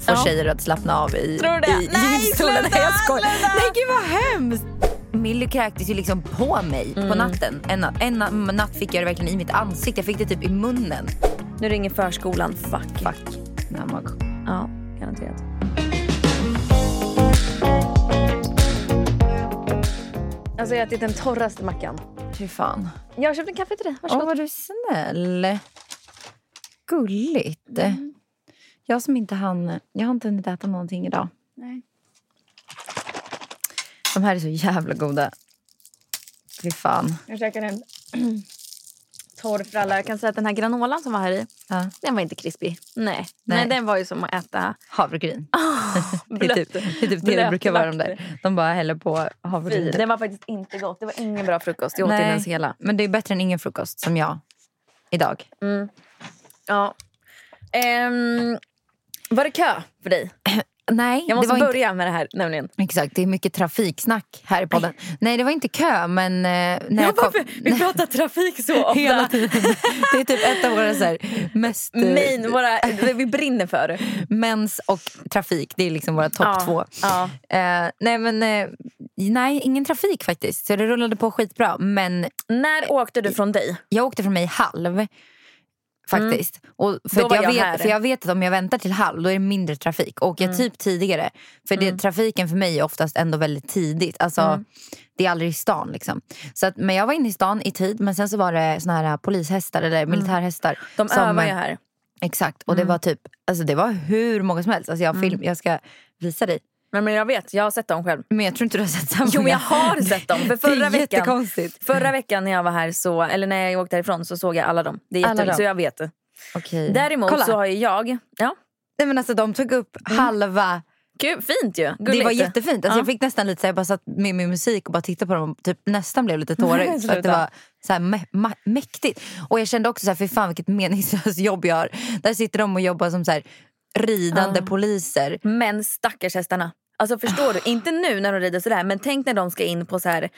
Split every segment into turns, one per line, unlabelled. få
Ja.
tjejer att slappna av i,
Tror du det?
i
Nej,
gynstolen.
sluta,
jag skojar.
sluta.
Nej gud vad hemskt. Milly kräktes ju liksom på mig på
Mm.
natten. En, natt- en na- natt fick jag det verkligen i mitt ansikte. Jag fick det typ i munnen.
Nu ringer förskolan. Fuck.
Fuck. Den här mag-
Ja, garanterat. Alltså jag har ätit den torraste mackan.
Fy fan.
Jag har köpt en kaffe till dig.
Åh
Varsågod.
vad du är snäll. Gulligt.
Mm.
Jag som inte hann, jag har inte hunnit äta någonting idag.
Nej.
De här är så jävla goda. Fy fan.
Jag käkar en torr för alla. Jag kan säga att den här granolan som var här i,
Ja.
den var inte krispig. Nej.
Nej.
Nej. den var ju som att äta
Havregryn. Det är
blött.
typ, det, är typ det det
Blöt
brukar vara de
lakrits.
där. De bara häller på
Fy,
havregryn.
Den var faktiskt inte gott. Det var ingen bra frukost. Jag åt
Nej,
inte ens hela.
Men det är bättre än ingen frukost som jag idag.
Ja. Ehm, var det kö för dig?
Nej,
Jag måste
det var
börja med det här nämligen.
inte, exakt, det är mycket trafiksnack här i podden. Nej, det var inte kö, men... eh, När
Ja,
jag kom,
varför? Vi pratar trafik så ofta.
hela tiden. Det är typ ett av våra så här, mest... eh,
Main, våra, det vi brinner för.
Mens och trafik, det är liksom våra topp
Ja,
två.
ja.
Eh, nej, men eh, nej, ingen trafik faktiskt. Så det rullade på skitbra. Men
När åkte du från dig?
jag åkte från mig halv. Faktiskt. Och för,
Mm. Då
att
var
jag
jag här. Mm.
vet, för jag vet att om jag väntar till halv då är det mindre trafik. Och åker jag typ tidigare. För det, trafiken för mig är oftast ändå väldigt tidigt. Alltså,
Mm.
Det är aldrig i stan. Liksom. Så att, men jag var inne i stan i tid. Men sen så var det såna här äh, polishästar eller militärhästar.
Mm. De
som-
övar ju här. Mm.
Exakt. Och det var typ alltså, det var hur många som helst. Alltså, jag, har film, jag ska visa dig.
Men, men jag vet, jag har sett dem själv.
Men jag tror inte du har sett samma.
Jo, men jag har sett dem. För
det
förra
är
veckan,
jättekonstigt.
förra veckan när jag var här, så, eller när jag åkte härifrån, så såg jag alla dem. Det är
Alla
jätteroligt,
dem.
så jag vet det.
Okej.
Däremot
Kolla.
så har Mm. ju jag... Ja,
Nej, men alltså, de tog upp halva
kul, fint ju. Gulligt.
Det var jättefint. Alltså,
Ja.
Jag fick nästan lite så här, jag bara satt med min musik och bara tittade på dem och typ, nästan blev lite tårögd. för att det
Sluta.
var så här, mä- ma- mäktigt. Och jag kände också så här, för fan vilket meningslöst jobb jag har. Där sitter de och jobbar som så här, ridande poliser.
Men stackars hästarna. Alltså förstår du? Inte nu när de rider sådär men tänk när de ska in på så här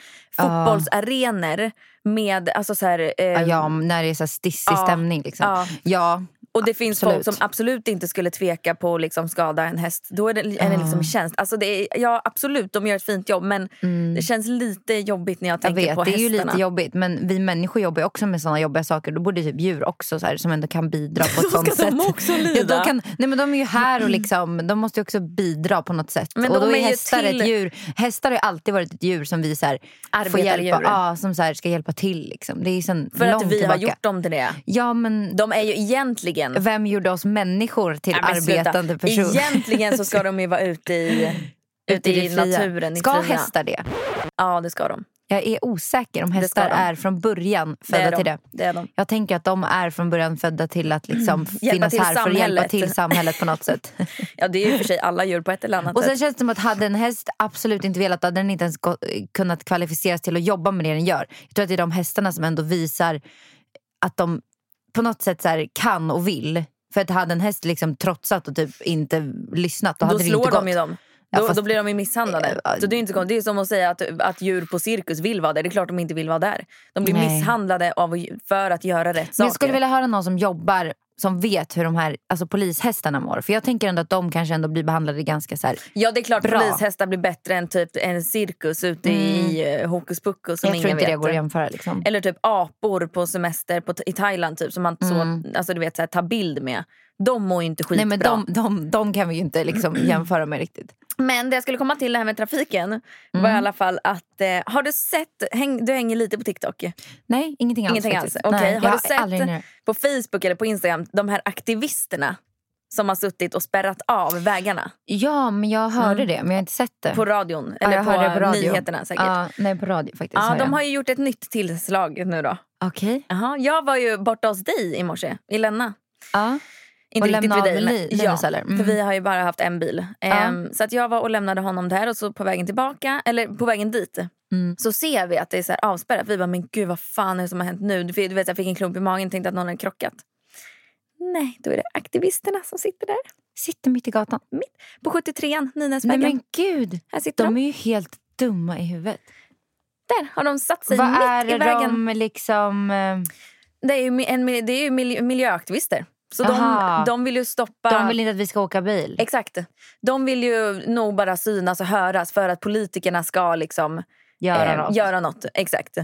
fotbollsarenor med alltså så här, eh,
Ja, ja, när det är så här stissig
Ja.
stämning. Liksom.
Ja.
Ja.
och det finns
absolut.
folk som absolut inte skulle tveka på att liksom skada en häst. Då är det en liksom tjänst. Alltså det är, ja absolut de gör ett fint jobb men det känns lite jobbigt när jag
Mm. Jag
tänker
vet,
på
det är ju
hästarna.
lite jobbigt men vi människor jobbar ju också med såna jobbiga saker. Då borde typ djur också så här, som ändå kan bidra på ett
Då
sånt
ska
sätt.
de också
Ja,
lida.
de, kan, nej, men de är ju här och liksom, de måste ju också bidra på något sätt.
Men
och
de
då
är
är
ju
hästar
till-
ett djur. Hästar har ju alltid varit ett djur som vi så här, får
Arbetardjur.
hjälpa, ja, som så här, ska hjälpa till. Liksom. Det är ju sen
För
långt
att vi
tillbaka.
har gjort dem till det.
Ja men
De är ju egentligen...
vem gjorde oss människor till
Nej, men sluta.
arbetande personer?
Egentligen så ska de ju vara ute i, ute i,
fria.
naturen. I
Ska
fria.
hästar det?
Ja det ska de.
Jag är osäker om
ska
hästar
de.
är från början
Det är
födda
de.
till det.
det är de.
Jag tänker att de är från början födda till att liksom
Mm. Hjälpa
finnas
till
här för att hjälpa
samhället.
till samhället på något sätt.
Ja det är ju i och för sig alla djur på ett eller annat
Och sen
sätt.
känns det som att hade en häst absolut inte velat, då hade den inte ens gå- kunnat kvalificeras till att jobba med det den gör. Jag tror att det är de hästarna som ändå visar att de på något sätt så här kan och vill. För att hade en häst liksom trotsat och typ inte lyssnat, då
Då
hade det
slår
inte gått.
de ju dem.
Ja,
Då,
fast-
då blir de ju misshandlade.
Eh,
Så det, är inte, konstigt. det är som att säga att, att djur på cirkus vill vara där. Det är klart de inte vill vara där. De blir
Nej.
misshandlade av, för att göra rätt
Men
saker.
jag skulle vilja höra någon som jobbar som vet hur de här alltså polishästarna mår. För jag tänker ändå att de kanske ändå blir behandlade ganska så här.
Ja det är klart
Bra. Mm.
polishästar blir bättre än typ en cirkus ute i eh, hokus pokus. Som
Jag
ingen
tror inte
vet.
det går att jämföra liksom.
Eller typ apor på semester på, i Thailand typ, som man så, alltså, du vet, så här, tar bild med. De mår ju inte skitbra.
Mm. Nej men de, de, de kan vi ju inte liksom jämföra med riktigt.
Men det jag skulle komma till det här med trafiken
Mm.
var i alla fall att... Eh, har du sett... Häng, du hänger lite på TikTok.
Nej, ingenting alls.
Ingenting alls?
faktiskt.
Okej.
Nej, jag
Har du
aldrig
sett
hinner-
på Facebook eller på Instagram de här aktivisterna som har suttit och spärrat av vägarna
Ja, men jag hörde det, men jag har inte sett det.
Mm. på radion?
Ja,
Eller
jag
på,
hörde det radio.
nyheterna säkert. Ja.
Ja, nej, på radio faktiskt. hör jag.
de har ju gjort ett nytt tillslag nu då.
Okej.
Jaha, jag var ju borta hos dig i morse, i Länna.
Ja.
Inte
Och lämna
riktigt vid dig.
av
Men,
med Li-
ja,
Linus, eller? Mm.
för vi har ju bara haft en bil. Ehm, så att jag var och lämnade honom där och så på vägen tillbaka, eller på vägen dit
Mm.
så ser vi att det är så här avspärrat. Vi bara, men gud vad fan är det som har hänt nu? Du vet, du vet, jag fick en klump i magen och tänkte att någon hade krockat. Nej, då är det aktivisterna som sitter där.
Sitter mitt i gatan.
På 73an,
Nej
Nynäsvägen.
men gud!
Här sitter de.
De är ju helt dumma i huvudet.
Där har de satt sig
Vad
mitt i
är
vägen.
de liksom... eh,
Det är ju, mi- en, mil- det är ju mil- miljöaktivister. Så de,
Aha.
de vill ju stoppa...
De vill inte att vi ska åka bil.
Exakt. De vill ju nog bara synas och höras för att politikerna ska liksom
Göra
eh,
något.
göra något. Exakt.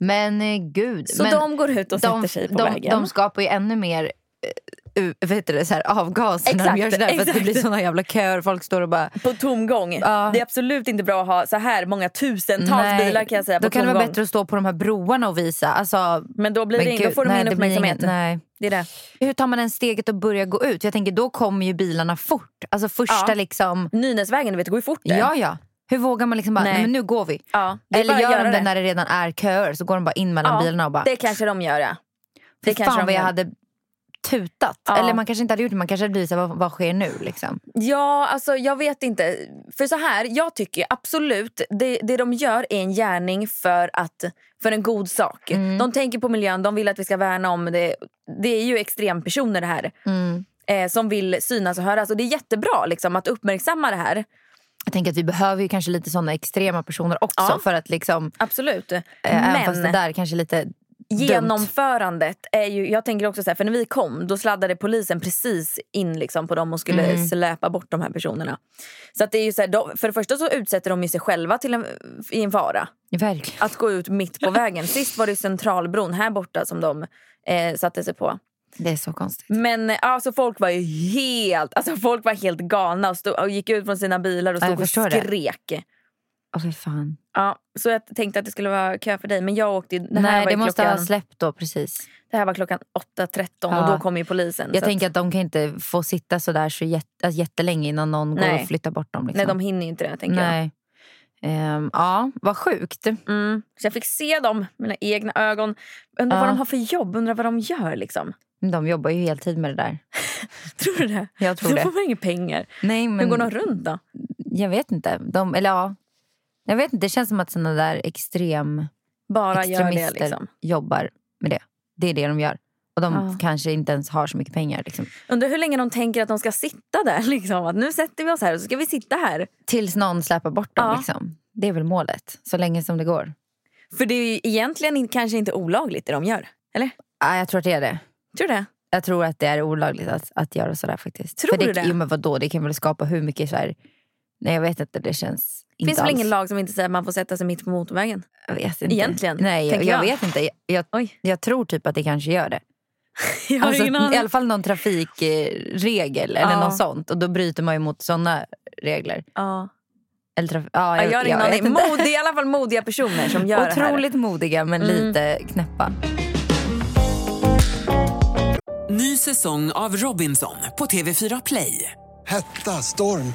Men eh, gud.
Så
men
de går ut och sätter sig på
de,
vägen.
De skapar ju ännu mer eh, u- vad heter det, så här, avgaser när
Exakt,
de gör sådär. För att det
exakt.
blir såna jävla köer. Folk står och bara...
på tomgång.
Ja.
Det är absolut inte bra att ha så här många tusentals
nej,
bilar kan jag säga på
Då kan det
tomgång.
vara bättre att stå på de här broarna och visa. Alltså,
Men då, blir det
men
ing- då
gud,
får de
nej,
ingen
det blir
uppmärksamhet.
ingen- nej.
Det är det.
Hur tar man ens steget och börjar gå ut? Jag tänker, då kommer ju bilarna fort. Alltså första
Ja.
liksom...
Nynäsvägen, du vet, det går ju fort där.
Ja, ja. Hur vågar man liksom bara, nej.
Nej.
men nu går vi.
Ja, det är
Eller
bara att
gör de
göra
det, när det redan är köer så går de bara in mellan
Ja,
bilarna och bara
Det kanske de gör, ja. Det
Fy
kanske
fan
de
vad jag
gör.
hade tutat.
Ja.
Eller man kanske inte hade gjort det, man kanske hade blivit såhär, vad, vad sker nu liksom?
Ja, alltså jag vet inte. För så här, jag tycker absolut det, det de gör är en gärning för, att, för en god sak.
Mm.
De tänker på miljön, de vill att vi ska värna om det. Det är ju extrempersoner det här.
Mm.
Eh, som vill synas och höras. Och det är jättebra liksom, att uppmärksamma det här.
Jag tänker att vi behöver ju kanske lite sådana extrema personer också
Ja.
för att liksom,
Absolut.
eh, även fast det
Men
där kanske är lite dumt.
genomförandet är ju... Jag tänker också så här, för när vi kom då sladdade polisen precis in liksom, på dem och skulle
Mm.
släpa bort de här personerna. Så att det är ju så här, de, för det första så utsätter de ju sig själva till en, i en fara.
Verkligen.
att gå ut mitt på vägen. Sist var det ju Centralbron här borta som de eh, satte sig på.
Det är så konstigt.
Men eh, alltså, folk var ju helt, alltså, folk var helt galna och, stod, och gick ut från sina bilar och
Ja, jag
stod och
förstår det.
skrek.
Åh fy fan.
Ja, så jag tänkte att det skulle vara kö för dig men jag åkte ju- det här,
Nej
var,
det
ju
måste
klockan,
ha släppt då precis.
det här var klockan 8.13 och
Ja.
då kom ju polisen.
Jag
så
tänker
att,
att de kan inte få sitta sådär så jätt, alltså, jättelänge innan någon går
Nej.
och flyttar bort dem. Liksom.
nej, de hinner ju inte det tänker jag.
Nej. Ehm, ja, vad sjukt.
Mm. Så jag fick se dem med mina egna ögon. Undrar vad
Ja.
de har för jobb, undrar vad de gör liksom.
De jobbar ju heltid med det där.
Tror du det?
Jag tror
Då
det.
får man inga pengar.
Nej, men...
Hur går de runt då?
Jag vet inte. De, eller ja. Jag vet inte. Det känns som att såna där extrem,
Bara gör det
extremister
liksom.
jobbar med det. Det är det de gör. Och de
Ja.
kanske inte ens har så mycket pengar. Liksom.
Undrar hur länge de tänker att de ska sitta där. Liksom. Att nu sätter vi oss här och så ska vi sitta här.
Tills någon släpar bort dem.
Ja.
Liksom. Det är väl målet. Så länge som det går.
För det är ju egentligen in, kanske inte olagligt det de gör. Eller?
Ja, jag tror att det är det.
Tror du det?
Jag tror att det är olagligt att, att göra sådär faktiskt.
Tror
För
du
det?
det?
Jo men vadå, det kan väl skapa hur mycket så här... Nej jag vet inte, det känns
Det
inte
finns väl
alls.
ingen lag som inte säger att man får sätta sig mitt på motorvägen?
Jag vet inte.
egentligen,
Nej jag,
tänker
jag
jag.
vet inte. Jag, jag,
Oj.
jag tror typ att det kanske gör det.
Jag har
Alltså,
ingen aning.
I alla fall någon trafikregel eller
Ja.
något sånt. Och då bryter man ju mot sådana regler.
Ja.
Eller traf- ja,
Ja, jag har ingen
vet
aning.
inte.
Mod, det är i alla fall modiga personer som gör det här. Mm.
Otroligt modiga men lite knäppa.
Ny säsong av Robinson på TV4 Play.
Hetta, storm,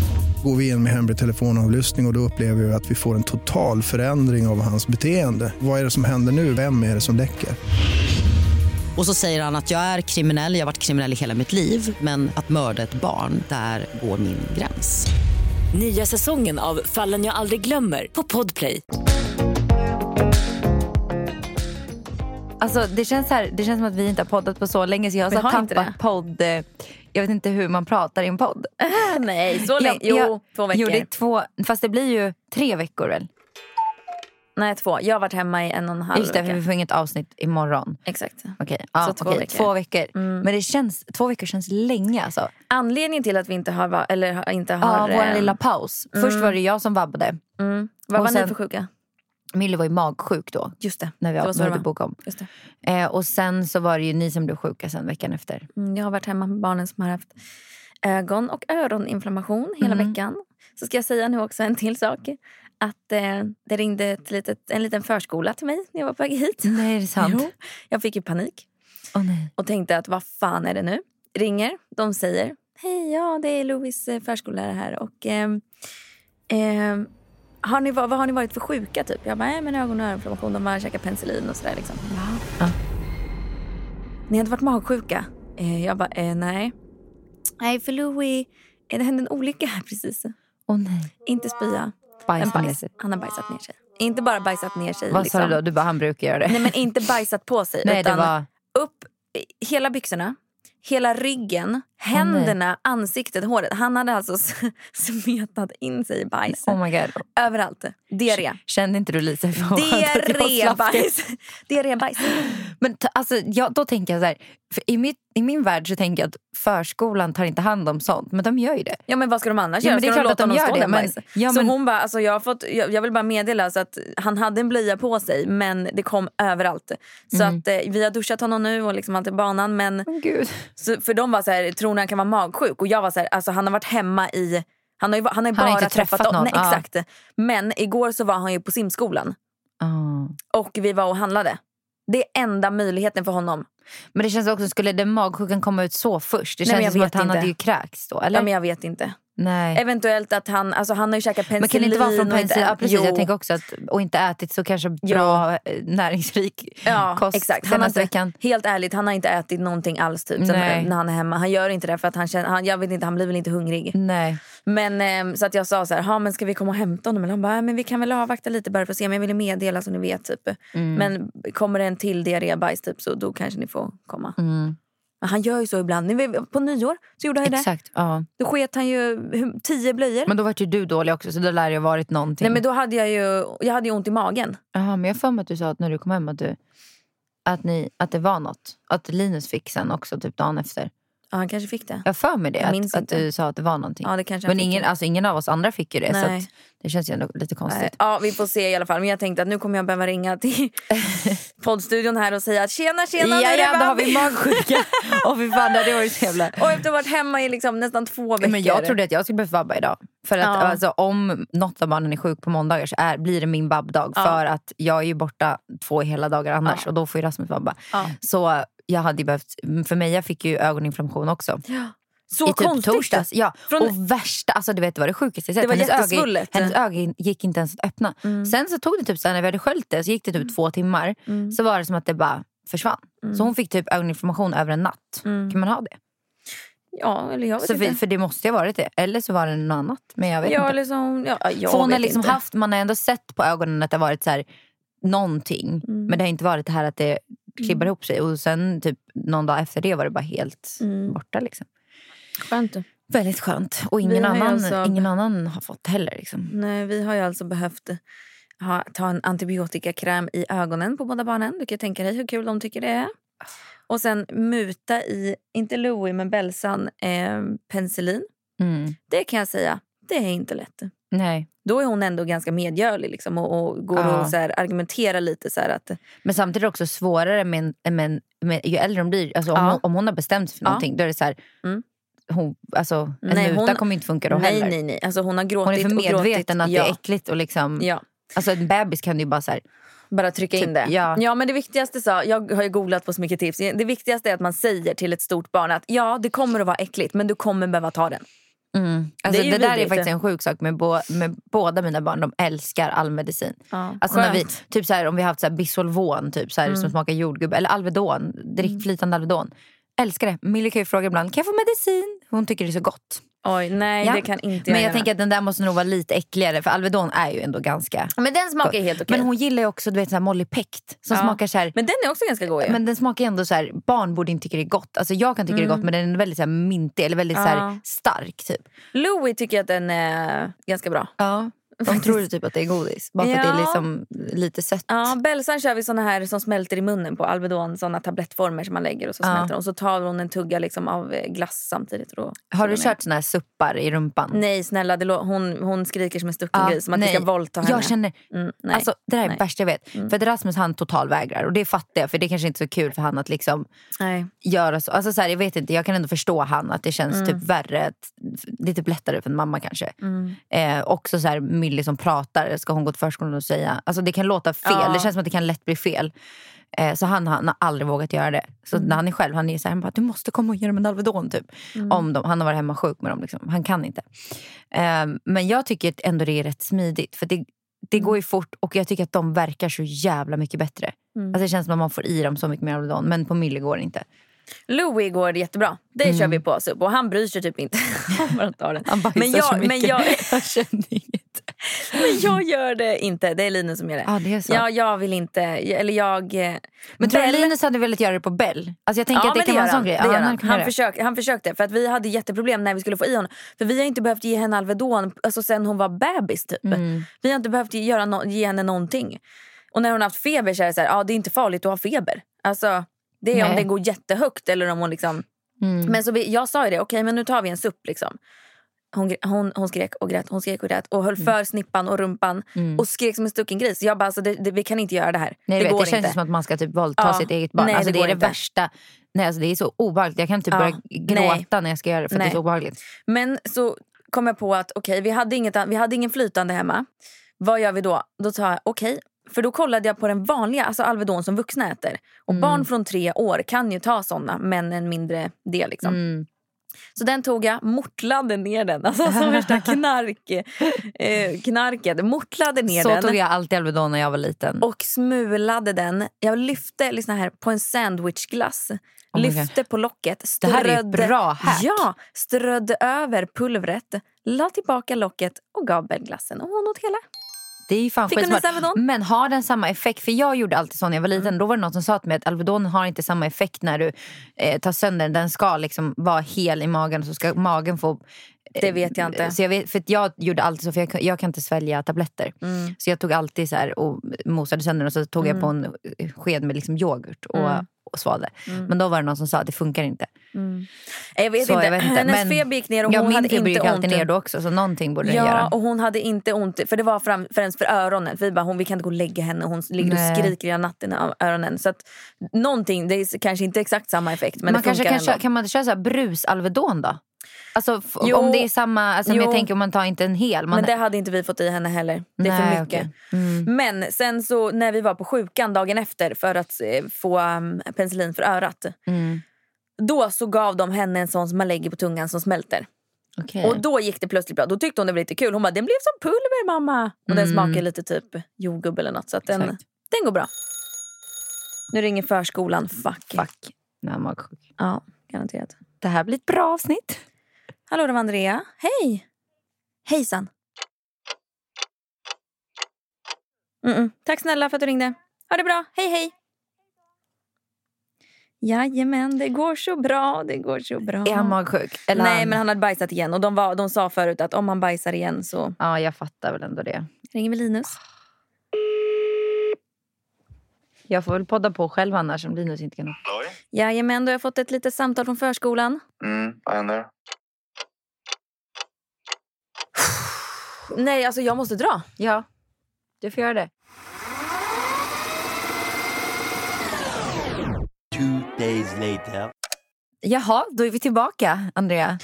går vi in med hemlig telefonavlyssning och, och då upplever vi att vi får en total förändring av hans beteende. Vad är det som händer nu? Vem är det som läcker?
Och så säger han att jag är kriminell, jag har varit kriminell i hela mitt liv men att mörda ett barn, där går min gräns.
Nya säsongen av Fallen jag aldrig glömmer på Podplay.
Alltså, det, känns så här, det känns som att vi inte har poddat på så länge så jag har
Vi
så
har inte
tappat
det.
podd. eh, Jag vet inte hur man pratar i en podd.
Nej, så länge.
Jag- jag
Jo, två veckor.
Jo, det är två, fast det blir ju tre veckor väl?
Nej, två. Jag har varit hemma i en och en halv
Just det, för vi
vecka.
får inget avsnitt imorgon.
Exakt.
Okej, ja,
Så två
okej,
veckor. Mm.
två veckor. Men det känns, två veckor känns länge alltså.
Anledningen till att vi inte har... va- Eller har- inte
Ja,
har
vår
eh,
lilla paus. Först var det
Mm.
jag som vabbade.
vad
och
var
sen-
ni för sjuka?
Millie var ju magsjuk då.
Just det.
När vi
det var så det
hörde
var.
boka om.
Just det.
Eh, och sen så var det ju ni som blev sjuka sen veckan efter.
Mm, Jag har varit hemma med barnen som har haft ögon och öroninflammation hela veckan. Så ska jag säga nu också en till sak. Att eh, det ringde ett litet, en liten förskola till mig när jag var på väg hit.
Nej, är det sant?
Jo, jag fick ju panik
Åh, nej.
och tänkte att vad fan är det nu? Ringer, de säger hej, ja det är Louis eh, förskollärare här och ehm, ehm, har ni, vad, vad har ni varit för sjuka typ? Jag bara, äh, men ögon och öroninflammation, de har käkat penicillin och sådär liksom.
Ja.
Ni hade varit magsjuka? Eh, jag bara, eh, nej. Nej, för Louis, eh, det hände en olycka här precis.
Åh, nej.
Inte spya,
Bajs
men
ner
bajs.
sig.
Han har bajsat ner sig. Inte bara bajsat ner sig.
Vad sa
liksom.
du då? Du bara, han brukar göra det.
Nej, men inte bajsat på sig.
Nej, det
utan
var...
upp i- hela byxorna, hela ryggen, händerna, ansiktet, håret. Han hade alltså s- smetat in sig i bajs.
Oh my god.
Överallt. Diarré.
Kände inte du Lisa hur skönt att jag slapp det?
Diarrébajs. Diarrébajs.
Men t- alltså, ja, då tänker jag så här, för i, mitt, i min värld så tänker jag att förskolan tar inte hand om sånt, men de gör ju det.
Ja men vad ska de annars
Ja,
göra?
men det är
ska
klart att de
honom
gör
stå
det,
där
men-
bajs?
ja,
så
men-
hon bara, alltså jag, har fått, jag, jag vill bara meddela så att han hade en blöja på sig men det kom överallt. Så
Mm.
att eh, vi har duschat honom nu och liksom allt i banan men
Men gud.
så, för de var så här, tror ni han kan vara magsjuk? Och jag var så här, alltså han har varit hemma i han har ju, han har ju
Han
bara
har inte träffat
dem.
någon,
Nej,
ja.
exakt. Men igår så var han ju på simskolan och vi var och handlade. Det är enda möjligheten för honom.
Men det känns också, skulle den magsjukan komma ut så först? Det
Nej, men
känns
jag
som
vet
att han
inte.
hade ju kräkts då, eller?
Ja, men jag vet inte.
Nej.
Eventuellt att han, alltså han har ju käkat penicillin.
Men kan det inte vara från
och
penicillin? Ja, precis,
jo.
jag tänker också att, och inte ätit så kanske bra eh, näringsrik
Ja,
kost
exakt. Alltså, Han har
senaste
inte,
veckan.
Helt ärligt, han har inte ätit någonting alls typ, sen,
Nej.
när han är hemma. Han gör inte det för att han känner, han, jag vet inte, han blir väl inte hungrig.
Nej.
Men ehm, så att jag sa så här, "Ha, men ska vi komma och hämta honom? Eller han bara, "Ja, men vi kan väl avvakta lite bara för att se. Men jag ville meddela så ni vet typ.
Mm.
Men kommer det en till diarrébajs typ så då kanske ni får komma.
Mm.
Men Han gör ju så ibland. Ni vet, På nyår så gjorde han ju det.
Exakt. Ja.
Då sket han ju hu- tio blöjor.
Men då var ju du dålig också, så då lär det ju ha varit någonting.
Nej men då hade jag ju, jag hade ju ont i magen.
Jaha, men jag har för mig att du sa att när du kom hem att, du, att, ni, att det var något. Att Linus fick sen också, typ dagen efter.
Ja han kanske fick det.
Jag har för mig det,
Jag minns
att, att
inte.
du sa att det var någonting.
Ja det kanske han
men
fick.
ingen, alltså, ingen av oss andra fick ju det, så
Nej.
att, det känns ju ändå lite konstigt.
Nej, Ja, vi får se i alla fall. Men jag tänkte att nu kommer jag behöva ringa till poddstudion här och säga att tjena, tjena, nu är det
Jajamän, då har
Bambi.
vi magsjuka. Åh fy fan, det hade varit så jävla...
Och efter att ha varit hemma i liksom nästan två veckor.
Men jag trodde att jag skulle behöva vabba idag. För att
Ja.
alltså, om något av barnen är sjuk på måndagar så är, blir det min vabbdag.
Ja.
För att jag är ju borta två hela dagar annars
Ja.
och då får ju Rasmus vabba.
Ja.
Så jag hade ju behövt, för mig, jag fick ju ögoninflammation också.
Så
I typ
konstigt.
torsdags. Ja.
Från-
Och värsta, alltså du vet vad det sjukaste jag sett.
Det var
hennes öga,
jättesvullet. Mm.
hennes öga gick inte ens att öppna. Sen så tog det typ, så här, när vi hade sköljt det, så gick det typ två timmar.
Mm.
Så var det som att det bara försvann. Så hon fick typ ögoninflammation över en natt. Kan man ha
Mm.
det?
Ja, eller jag vet
Så
inte.
för, för det måste ju ha varit det. Eller så var det något annat. Men jag vet
ja, liksom-
inte.
eller så, ja, jag
För hon har
vet
liksom
inte.
haft, man har ändå sett på ögonen att det har varit så här, någonting.
Mm.
Men det har inte varit det här att det klibbar ihop sig. Och sen typ någon dag efter det var det bara helt
Mm.
borta. Liksom.
Skönt.
Väldigt skönt. Och
Vi
ingen
har ju
annan,
alltså-
ingen annan har fått heller. Liksom.
Nej, vi har ju alltså behövt ha, ta en antibiotikakräm i ögonen på båda barnen. Du kan ju tänka dig hur kul de tycker det är. Och sen muta i, inte Louie men Belsan, eh, penicillin.
Mm.
Det kan jag säga, det är inte lätt.
Nej.
då är hon ändå ganska medgörlig liksom, och, och går
Ja.
och så här, argumenterar lite. Så här, att,
Men samtidigt är det också svårare med, en- med, en- med, ju äldre de blir. Alltså, om,
Ja.
hon, om hon har bestämt sig för
Ja.
någonting då är det så här,
Mm.
hon, alltså, en
Nej,
muta
hon-
kommer inte funka då
nej,
heller.
nej, nej. Alltså, hon har gråtit
Hon är för
och gråtit.
medveten att
ja.
det är äckligt. Och liksom,
Ja.
Alltså en bebis kan ju bara så här,
Bara trycka
Typ,
in det.
ja.
men det viktigaste sa, Jag har ju googlat på så mycket tips. Det viktigaste är att man säger till ett stort barn att ja, det kommer att vara äckligt men du kommer behöva ta den.
Alltså,
Det
det
är ju
där är
vidrigt.
faktiskt en sjuk sak med, bo, med båda mina barn. De älskar all medicin.
Ja,
alltså när vi,
skönt. Mm.
typ så här, om vi har haft så här Bisolvon typ, så här, som smakar jordgubbe eller Alvedon, drick flytande Alvedon. Älskar det. Millie kan ju fråga ibland, kan jag få medicin? Hon tycker det är så gott.
Oj, nej
Ja.
det kan inte
Men jag
göra.
tänker att den där måste nog vara lite äckligare för Alvedon är ju ändå ganska...
men den smakar ju helt okej.
Men hon gillar ju också du vet, så här Molly Pect som
Ja.
smakar så här...
Men den är också ganska god ju.
Men den smakar ju ändå så här, barn borde inte tycka det är gott. Alltså jag kan tycka det är gott men den är väldigt så här mintig eller väldigt så här
Mm. Ja.
stark typ.
Louie tycker jag att den är ganska bra.
Ja. De tror typ att det är godis. Bara för att det är
Ja.
liksom lite sött.
Ja, Belsan kör vi såna här som smälter i munnen på Alvedon, såna tablettformer som man lägger och så
Ja.
smälter de. Och så tar hon en tugga liksom av eh, glass samtidigt. Och då
Har du
trillar ner.
kört såna här suppar i rumpan?
Nej snälla, det lå- hon, hon skriker som en stucken
Ja,
gris. Som att vi ska
nej.
våldta henne.
Jag känner,
Mm, nej.
alltså, det där är
nej. Mm.
det värsta jag vet. För att Rasmus han totalvägrar och det fattar jag för det är kanske inte är så kul för han att liksom
nej.
göra så. Alltså, så här, jag vet inte, jag kan ändå förstå han att det känns typ värre, att- det är typ lättare för en mamma kanske. Eh, också så här Millie som pratar, ska hon gå till förskolan och säga? Alltså det kan låta fel,
Ja.
det känns som att det kan lätt bli fel. Eh, så han, han har aldrig vågat göra det. Så när han är själv, han är så här, han bara, du måste komma och ge dem en Alvedon typ. Om dem. Han har varit hemma sjuk med dem, liksom. han kan inte. Eh, men jag tycker att ändå det är rätt smidigt. För det, det går ju fort och jag tycker att de verkar så jävla mycket bättre. Alltså det känns som att man får i dem så mycket mer Alvedon, men på Millie går det inte.
Louis går jättebra. Det kör vi på oss upp. Och han bryr sig typ inte om att ta den.
Mm. Han bajsar
Men jag,
så mycket.
men, jag,
jag känner inget.
men jag gör det inte. Det är Linus som gör det.
Ja, det är så.
Ja, jag vill inte. Eller jag... eh,
Men tror du
Bell-
Linus hade velat göra det på Bell? Alltså jag tänker
Ja,
att det
men
kan
gör
vara en sån
han.
grej.
Det gör
Ja, han
han.
kan
Han,
göra det.
försök, han försökte. För att vi hade jätteproblem när vi skulle få i honom. För vi har inte behövt ge henne Alvedon alltså sen hon var bebis. Typ.
Mm.
Vi har inte behövt göra no- ge henne någonting. Och när hon har haft feber så är det så här, ah, det är inte farligt att ha feber. Alltså, det är om
Nej. Mm.
den går jättehögt eller om hon liksom... Men så vi, jag sa ju det, okej men nu tar vi en supp liksom. Hon, gr- hon, hon skrek och grät hon skrek och grät och höll
Mm.
för snippan och rumpan och skrek som en stucken gris. Jag bara, alltså, det, det, vi kan inte göra det här. det
Nej, det, vet,
går
det känns
inte.
som att man ska typ våldta
Ja.
sitt eget barn.
Nej,
alltså,
det
det,
går
är det
inte.
värsta. Nej, alltså, det är så obehagligt. Jag kan typ
Ja.
börja gråta när jag ska göra det för att det
Nej.
är så obehagligt.
Men så kom jag på att okej, vi, hade inget, vi hade ingen flytande hemma. Vad gör vi då? Då tar jag okej. för då kollade jag på den vanliga, alltså Alvedon som vuxna äter. Och
Mm.
barn från tre år kan ju ta såna, men en mindre del. Liksom.
Mm.
Så den tog jag, mortlade ner den. Alltså som värsta knark, eh, knarket. Mortlade ner
Så
den.
tog jag alltid Alvedon när jag var liten.
Och smulade den. Jag lyfte lyssna här, på en sandwichglass.
Oh my God.
lyfte på locket.
Det
Strödde,
här är ett bra hack.
Ja, strödde över pulvret. La tillbaka locket och gav Bell glassen. Och hon åt hela.
det är ju fan
Fick hon
skitsmart.
en Mm. Alvedon?
Men har den samma effekt? För jag gjorde alltid så när jag var liten. Då var det någon som sa till mig att Alvedon har inte samma effekt när du eh, tar sönder den. Den ska liksom vara hel i magen så ska magen få eh,
Det vet jag inte.
Så jag, vet, för att jag gjorde alltid så, för jag, kan- jag kan inte svälja tabletter.
Mm.
Så jag tog alltid så här och mosade sönder den och så tog jag på en sked med liksom yoghurt och,
Mm.
och svalde. Men då var det någon som sa att det funkar inte.
Nej, Jag vet
så
inte.
jag vet inte.
Hennes
Men-
feber gick ner och
ja,
hon
min
hade
feber gick
inte ont.
alltid ner då också så någonting borde den
Ja,
göra.
och hon hade inte ont. För det var fram, främst för öronen. För vi bara, hon, vi kan inte gå och lägga henne. Hon ligger
Nej.
och skriker hela natten av öronen. Så att någonting, det är kanske inte exakt samma effekt. Men
man
det funkar
kanske kan,
ändå.
köra, kan man inte köra så här brus-Alvedon då? Alltså f-
Jo.
om det är samma, alltså, men jag
Jo.
tänker om man tar inte en hel. Man,
Men det hade inte vi fått i henne heller. Det är
Nej,
för mycket.
okej. Mm.
Men sen så när vi var på sjukan dagen efter för att eh, få um, penicillin för örat.
Mm.
Då så gav de henne en sån som man lägger på tungan som smälter.
Okej.
Och då gick det plötsligt bra. Då tyckte hon det var lite kul. Hon bara, den blev som pulver mamma. Och den smakar lite typ jordgubb eller något. Så att den,
Mm. Exakt.
den går bra. Nu ringer förskolan. Fuck.
Fuck. Nej, man är magsjuk.
Ja, garanterat.
Det här blir ett bra avsnitt.
Hallå, det var Andrea. Hej! Hejsan. Mm-mm. Tack snälla för att du ringde. Ha det bra. Hej, hej! Jajamän, det går så bra. Det går så bra.
Är han magsjuk? Eller
Nej, men han hade bajsat igen. Och de, var, de sa förut att om han bajsar igen så
Ja, jag fattar väl ändå det.
ringer vi Linus.
Jag får väl podda på själv annars om Linus inte kan åka.
Jajamän, då har jag fått ett litet samtal från förskolan.
Mm, vad händer?
Nej, alltså jag måste dra.
Ja, du får göra det.
Two days later.
Jaha, då är vi tillbaka, Andrea.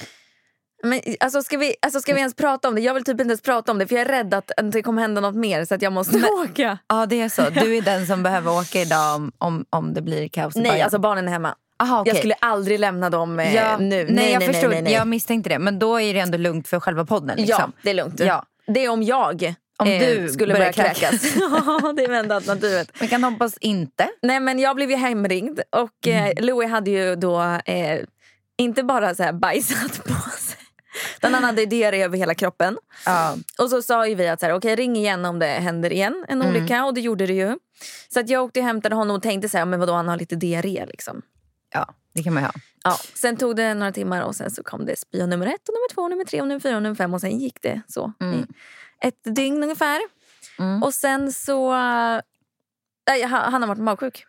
Men, alltså, ska, vi, alltså, ska vi ens prata om det? Jag vill typ inte ens prata om det för jag är rädd att det kommer hända något mer så att jag måste åka.
Ja, det är så. Du är den som behöver åka idag om, om, om det blir kaos i
Nej,
Bayern.
alltså barnen är hemma.
Aha, okej.
Jag skulle aldrig lämna dem eh,
ja,
nu.
Nej, jag förstod. Jag misstänkte det. Men då är det ändå lugnt för själva podden.
Ja,
Liksom.
det är lugnt.
Ja.
Det är om jag
Om
eh,
du
skulle
börjar
börja
kräkas.
kräkas. ja, det är enda alternativet.
Vi kan hoppas inte.
Nej, men jag blev ju hemringd och eh,
Mm.
Louis hade ju då eh, inte bara så här bajsat på sig. Utan han hade diarré över hela kroppen.
Ja.
Och så sa ju vi att så här, okej, ring igen om det händer igen en
Mm.
olycka och det gjorde det ju. Så att jag åkte och hämtade honom och tänkte så här, men vadå han har lite diarré liksom.
ja, det kan man ju ha.
Ja, sen tog det
Mm.
några timmar och sen så kom det spya nummer ett och nummer två och nummer tre och nummer fyra och nummer fem och sen gick det så. ett dygn ungefär. Och sen så... eh, Nej, han, han har varit magsjuk.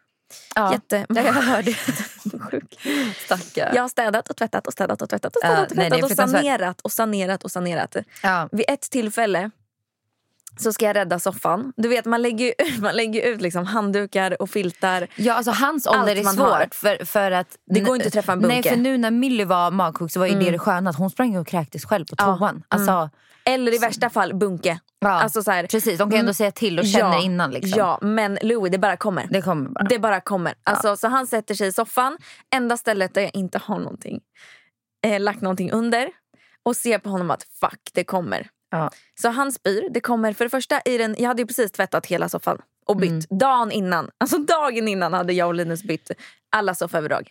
Ja.
Jätte... Jag hörde sjuk.
Stackare.
Jag har städat och tvättat och städat och tvättat och
Ja,
städat och,
Eh, nej,
tvättat
det är
och
fruktansvärt.
sanerat och sanerat och sanerat.
Ja.
Vid ett tillfälle så ska jag rädda soffan. Du vet, man lägger ju ut, man lägger ut liksom handdukar och filtar.
Ja, alltså hans
Allt
ålder är
man har.
svårt. För, för att,
Det går inte att träffa en Mm.
Nej,
bunker.
för nu när Milly var magsjuk så var ju det det sköna att hon sprang och kräktes själv på toan. Alltså,
Eller i värsta fall bunke.
ja.
mm. Alltså så här-
Precis, de kan ju ändå
Mm.
säga till och känner
Ja,
innan. Liksom.
Ja, men Louis, det bara kommer.
Det kommer bara.
Det bara kommer. Alltså, Så han sätter sig i soffan, enda stället där jag inte har någonting. Eh, lagt någonting under. Och ser på honom att fuck, det kommer.
Ja.
Så han spyr. Det kommer för det första i den... Jag hade ju precis tvättat hela soffan och bytt. Dagen innan. Alltså dagen innan hade jag och Linus bytt alla sofföverdrag.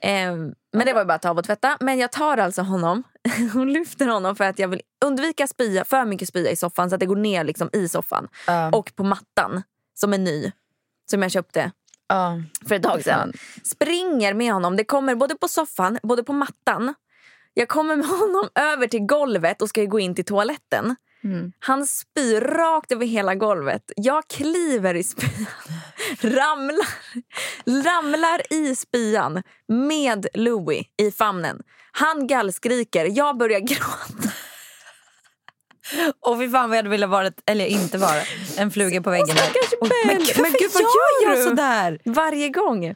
Eh, men det var ju bara att ta av och tvätta. Men jag tar alltså honom och lyfter honom för att jag vill undvika spya, för mycket spya i soffan så att det går ner liksom i soffan.
Ja.
Och på mattan som är ny. Som jag köpte
Ja.
för ett tag sedan. Springer med honom. Det kommer både på soffan, både på mattan. Jag kommer med honom över till golvet och ska ju gå in till toaletten. Han spyr rakt över hela golvet. Jag kliver i spyan. Ramlar, ramlar i spyan med Louis i famnen. Han gallskriker. Jag börjar gråta.
Och fy fan vad jag hade velat vara, eller inte vara, en fluga på väggen. där.
stackars
Och-
Bell.
Men gud, men gud vad gör jag sådär?
Varje gång.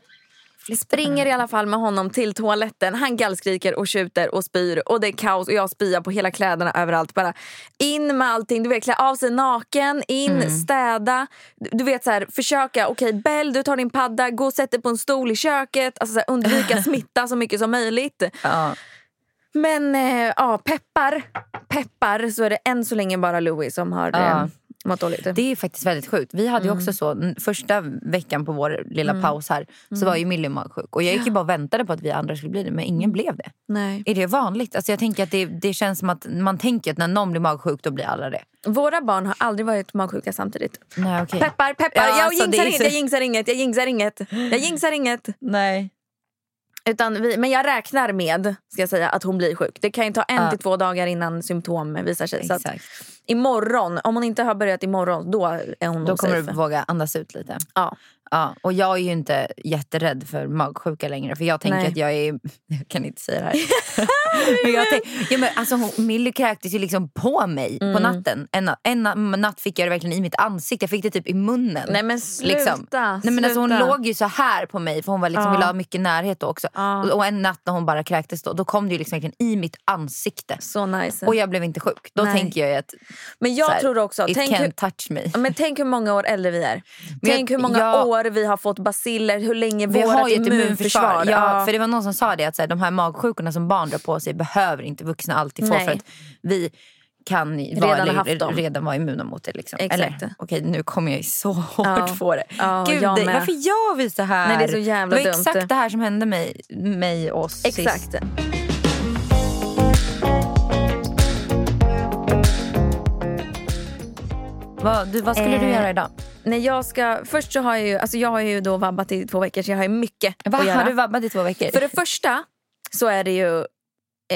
Springer i alla fall med honom till toaletten. Han gallskriker och tjuter och spyr. Och det är kaos och jag spyar på hela kläderna överallt. Bara in med allting. Du vet, klä av sig naken, in,
Mm.
städa. Du- Du vet så här, försöka. Okej, Bell, du tar din padda, gå och sätt dig på en stol i köket. Alltså så här, undvika smitta så mycket som möjligt.
Ja.
Men eh, ja, peppar. Peppar så är det än så länge bara Louis som har
Ja.
eh, mått dåligt.
Det är faktiskt väldigt sjukt. Vi hade ju också så, n- första veckan på vår lilla paus här så var ju Millie magsjuk. Och jag gick ju bara och väntade på att vi andra skulle bli det men ingen blev det.
Nej.
Är det vanligt? Alltså jag tänker att det, det känns som att man tänker att när någon blir magsjuk då blir alla det.
Våra barn har aldrig varit magsjuka samtidigt.
Nej okej.
Peppar, peppar.
Ja,
jag,
alltså, det
jinxar
är
inget,
så-
jag jinxar inget, jag jinxar inget. Jag jinxar inget.
Nej.
Utan vi, men jag räknar med ska jag säga, att hon blir sjuk. Det kan ju ta en
Ja.
till två dagar innan symptom visar sig. Så att
Exakt.
imorgon, om hon inte har börjat imorgon, då är hon
Då
nog
kommer
safe.
du våga andas ut lite.
Ja.
Ja, och jag är ju inte jätterädd för magsjuka längre. För jag tänker
Nej.
att jag är... Jag kan inte säga det här. men jag tänk, ja, men alltså, hon, Millie kräktes ju liksom på mig
Mm.
på natten. En, na- en na- natt fick jag det verkligen i mitt ansikte. Jag fick det typ i munnen. Liksom.
Nej men sluta.
Nej, men alltså, hon
sluta.
låg ju så här på mig för hon var liksom,
Ja.
ville ha mycket närhet då också.
Ja.
Och, och en natt när hon bara kräktes då, då kom det ju liksom verkligen i mitt ansikte.
Så nice.
Och jag blev inte sjuk. Då
Nej.
tänker jag ju att
men
så
jag
här,
tror också,
it
tänk
can't
hur,
touch me.
ja, men tänk hur många år äldre vi är.
Men
tänk
jag-
hur många
jag-
år vi har fått basiller, hur länge
Vi
vårt
har ju ett
immunförsvar...
immunförsvar. Ja,
Ja.
För det var någon som sa det att så här, de här magsjukorna som barn drar på sig behöver inte vuxna alltid få
Nej.
för att vi kan vara,
Redan
eller,
haft dem.
redan vara immuna mot det. Liksom.
Exakt.
Eller, okej, nu kommer jag ju så hårt
Ja.
på det.
Ja,
Gud,
jag
det-
med.
varför gör vi så här?
Nej, det är så jävla
det var
dumt.
exakt det här som hände mig, mig och oss sist.
Exakt.
Vad, du, vad skulle du
Eh,
göra idag?
Nej, jag ska, först så har jag ju, alltså jag har ju då vabbat i två veckor så jag har ju mycket
Va,
att göra.
har du vabbat i två veckor?
För det första så är det ju,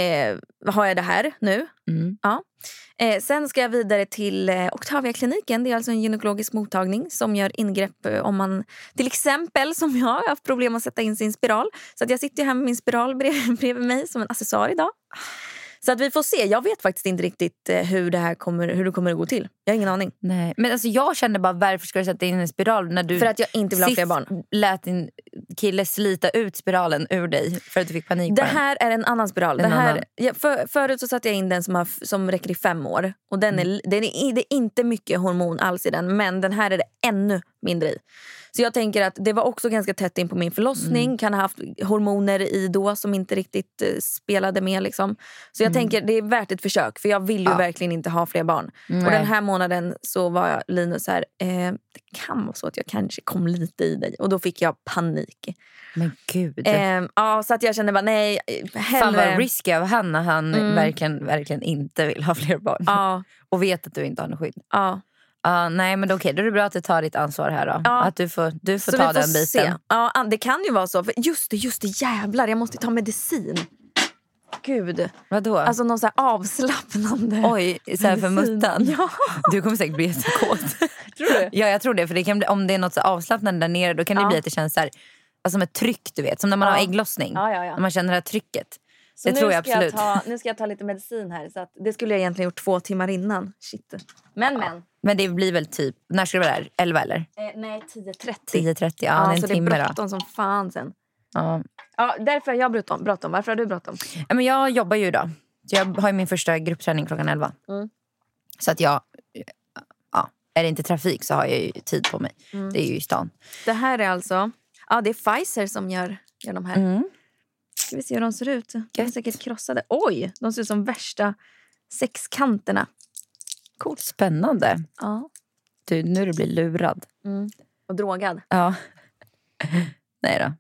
eh, har jag det här nu.
Mm.
Ja. Eh, sen ska jag vidare till eh, Octavia-kliniken. Det är alltså en gynekologisk mottagning som gör ingrepp eh, om man till exempel som jag har haft problem att sätta in sin spiral. Så att jag sitter ju här med min spiral brev, bredvid mig som en accessoar idag. Så att vi får se. Jag vet faktiskt inte riktigt eh, hur det här kommer, hur det kommer att gå till. Jag har ingen aning.
Nej. Men alltså, jag kände bara, varför ska du sätta in en spiral när du
För att jag inte vill ha fler barn.
lät din kille slita ut spiralen ur dig för att du fick panik
Det
på den.
här är en annan spiral.
En
det här,
annan.
Ja, för, förut så satte jag in den som, har, f- som räcker i fem år. Och den
Mm.
är, den är, det är inte mycket hormon alls i den, men den här är det ännu mindre i. Så jag tänker att det var också ganska tätt in på min förlossning.
Mm.
Kan ha haft hormoner i då som inte riktigt eh, spelade med. Liksom. Så jag
Mm.
tänker det är värt ett försök för jag vill ju verkligen inte ha fler barn. Och den här månaden så var jag Linus här, eh, det kan vara så att jag kanske kom lite i dig. Och då fick jag panik.
Men gud.
Ehm, ja, så att jag kände bara nej, eh,
Fan
hellre.
vad risky av han när han verkligen, verkligen inte vill ha fler barn.
Ja,
Och vet att du inte har något skydd.
ja.
Ja, nej men då, okej, då är det bra att du tar ditt ansvar här då.
Ja.
Att du får, du får
Så
ta
vi får
den biten.
se. Ja, an- det kan ju vara så. För just det, just det, jävlar, jag måste ta medicin. gud.
Vadå?
Alltså någon så här avslappnande.
Oj, så här för
medicin.
muttan?
Ja.
Du kommer säkert bli jättekåt.
Tror du?
Ja, jag tror det. För det kan bli, om det är något så avslappnande där nere då kan det
Ja.
bli att det känns så här, alltså som ett tryck, du vet. Som när man
Ja.
har ägglossning.
Ja, ja, ja.
När man känner det här trycket.
Så
det
nu
tror jag
ska
absolut.
ta, nu ska jag ta lite medicin här. Så att, det skulle jag egentligen gjort två timmar innan. Shit. Men men.
Men det blir väl typ, när ska det vara där? 11 eller?
Eh, nej, 10.30.
10.30, ja, det är en
så
timme
det
då.
är bråttom som fan sen.
Ja.
Ja, därför har jag bråttom. bråttom. Varför har du bråttom?
Ja, Men jag jobbar ju idag. Så jag har ju min första gruppträning klockan 11.
Mm.
Så att jag, ja, är det inte trafik så har jag ju tid på mig.
Mm.
Det är ju i stan.
Det här är alltså... Ja, det är Pfizer som gör, gör de här. Ska vi se hur de ser ut. De är
Gött.
säkert krossade. Oj, de ser ut som värsta sexkanterna.
Coolt. Spännande.
Ja.
Du, nu du blir lurad.
Och drogad.
Ja. Nej då.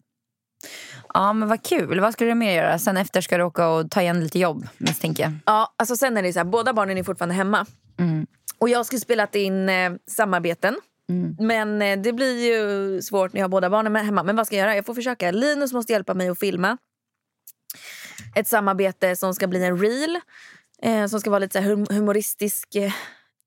Ja, men vad kul. Vad ska du mer göra? Sen efter ska du åka och ta igen lite jobb, misstänker jag.
Ja, alltså sen är det så här, båda barnen är fortfarande hemma.
Mm.
Och jag skulle spelat in eh, samarbeten.
Mm.
Men eh, det blir ju svårt när jag har båda barnen med- hemma. Men vad ska jag göra? Jag får försöka. Linus måste hjälpa mig att filma. Ett samarbete som ska bli en reel. Eh, som ska vara lite så här hum- humoristisk. eh.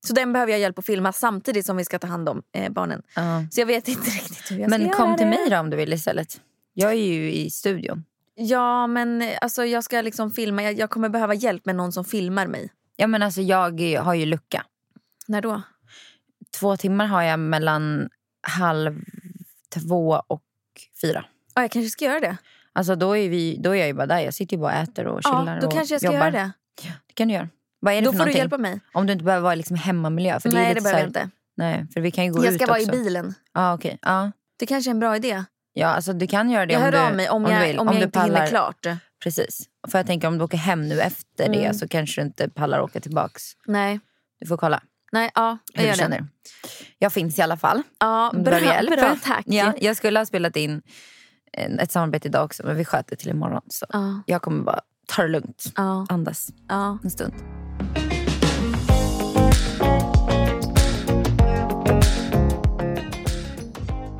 Så den behöver jag hjälp att filma samtidigt som vi ska ta hand om eh, barnen. Så jag vet inte riktigt hur jag ska
Men
göra
kom till
det.
mig då om du vill istället. Jag är ju i studion.
Ja, men eh, alltså, jag ska liksom filma. Jag, jag kommer behöva hjälp med någon som filmar mig.
Ja, men alltså, jag har ju lucka.
När då?
Två timmar har jag mellan halv två och fyra.
Ja, jag kanske ska göra det.
Alltså, då, är vi, då är jag ju bara där. Jag sitter ju bara och äter och chillar
Ja, då
och
kanske jag ska
jobbar.
göra det.
Det kan du göra. Vad är det
Då får du
för någonting?
hjälpa mig.
Om du inte behöver vara i liksom hemmamiljö. För det är
Nej,
lite
det behöver jag
så här-
inte.
Nej, för vi kan ju gå
Jag
ut
ska vara
också.
i bilen.
Ja, okej. Ja.
Det kanske är en bra idé.
Ja, alltså du kan göra det
Jag
om
hör
du,
av mig om,
du
jag,
vill.
om, jag
du
inte hinner klart.
Precis. För jag tänker om du åker hem nu efter
Mm.
det så kanske du inte pallar åka tillbaks.
Nej,
Du får kolla
Nej ja, jag
hur
gör
du
det.
känner. Jag finns i alla fall.
Ja,
om du
bra,
behöver hjälp.
bra, tack.
Ja, jag skulle ha spelat in en- ett samarbete idag också men vi sköt det till imorgon. Så
Ja.
jag kommer bara ta det lugnt.
Ja.
Andas
Ja.
en stund.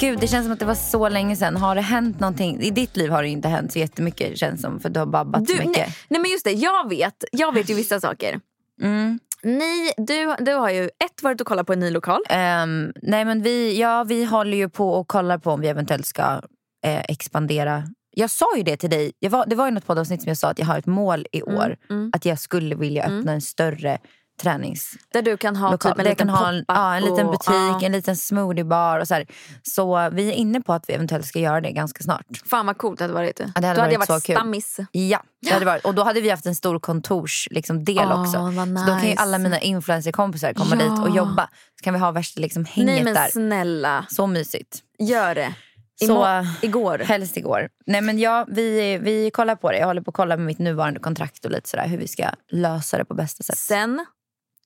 Gud, det känns som att det var så länge sedan. Har det hänt någonting? I ditt liv har det ju inte hänt så jättemycket känns som för du har babbat så
Du,
mycket.
nej, nej, men just det. Jag vet, jag vet ju vissa saker.
Mm.
Ni, du, du har ju ett varit och kollat på en ny lokal.
Ehm, nej men vi, ja, vi håller ju på och kollar på om vi eventuellt ska eh, expandera. Jag sa ju det till dig. Jag var, det var ju något poddavsnitt som jag sa att jag har ett mål i
Mm,
år. Att jag skulle vilja öppna en större tränings
Där du kan ha
lokal.
Mm. typ en
Där
liten
jag kan ha en,
pop-up
ja, en liten
och- ja.
butik, en liten smoothiebar. Och så, här. så vi är inne på att vi eventuellt ska göra det ganska snart.
Fan vad coolt det hade varit.
Ja, det hade
Då hade jag
varit
varit
så kul.
stammis.
Ja, det hade varit. och då hade vi haft en stor kontorsdel liksom, del
Åh,
också.
vad
Så då kan ju
nice.
alla mina influencerkompisar komma
Ja.
dit och jobba. Så kan vi ha värsta liksom, hänget
Nej men
där.
snälla,
Så mysigt.
gör det.
Så-
Imo- igår.
Helst igår. Nej men ja, vi, vi kollar på det. Jag håller på att kolla med mitt nuvarande kontrakt och lite sådär hur vi ska lösa det på bästa sätt.
Sen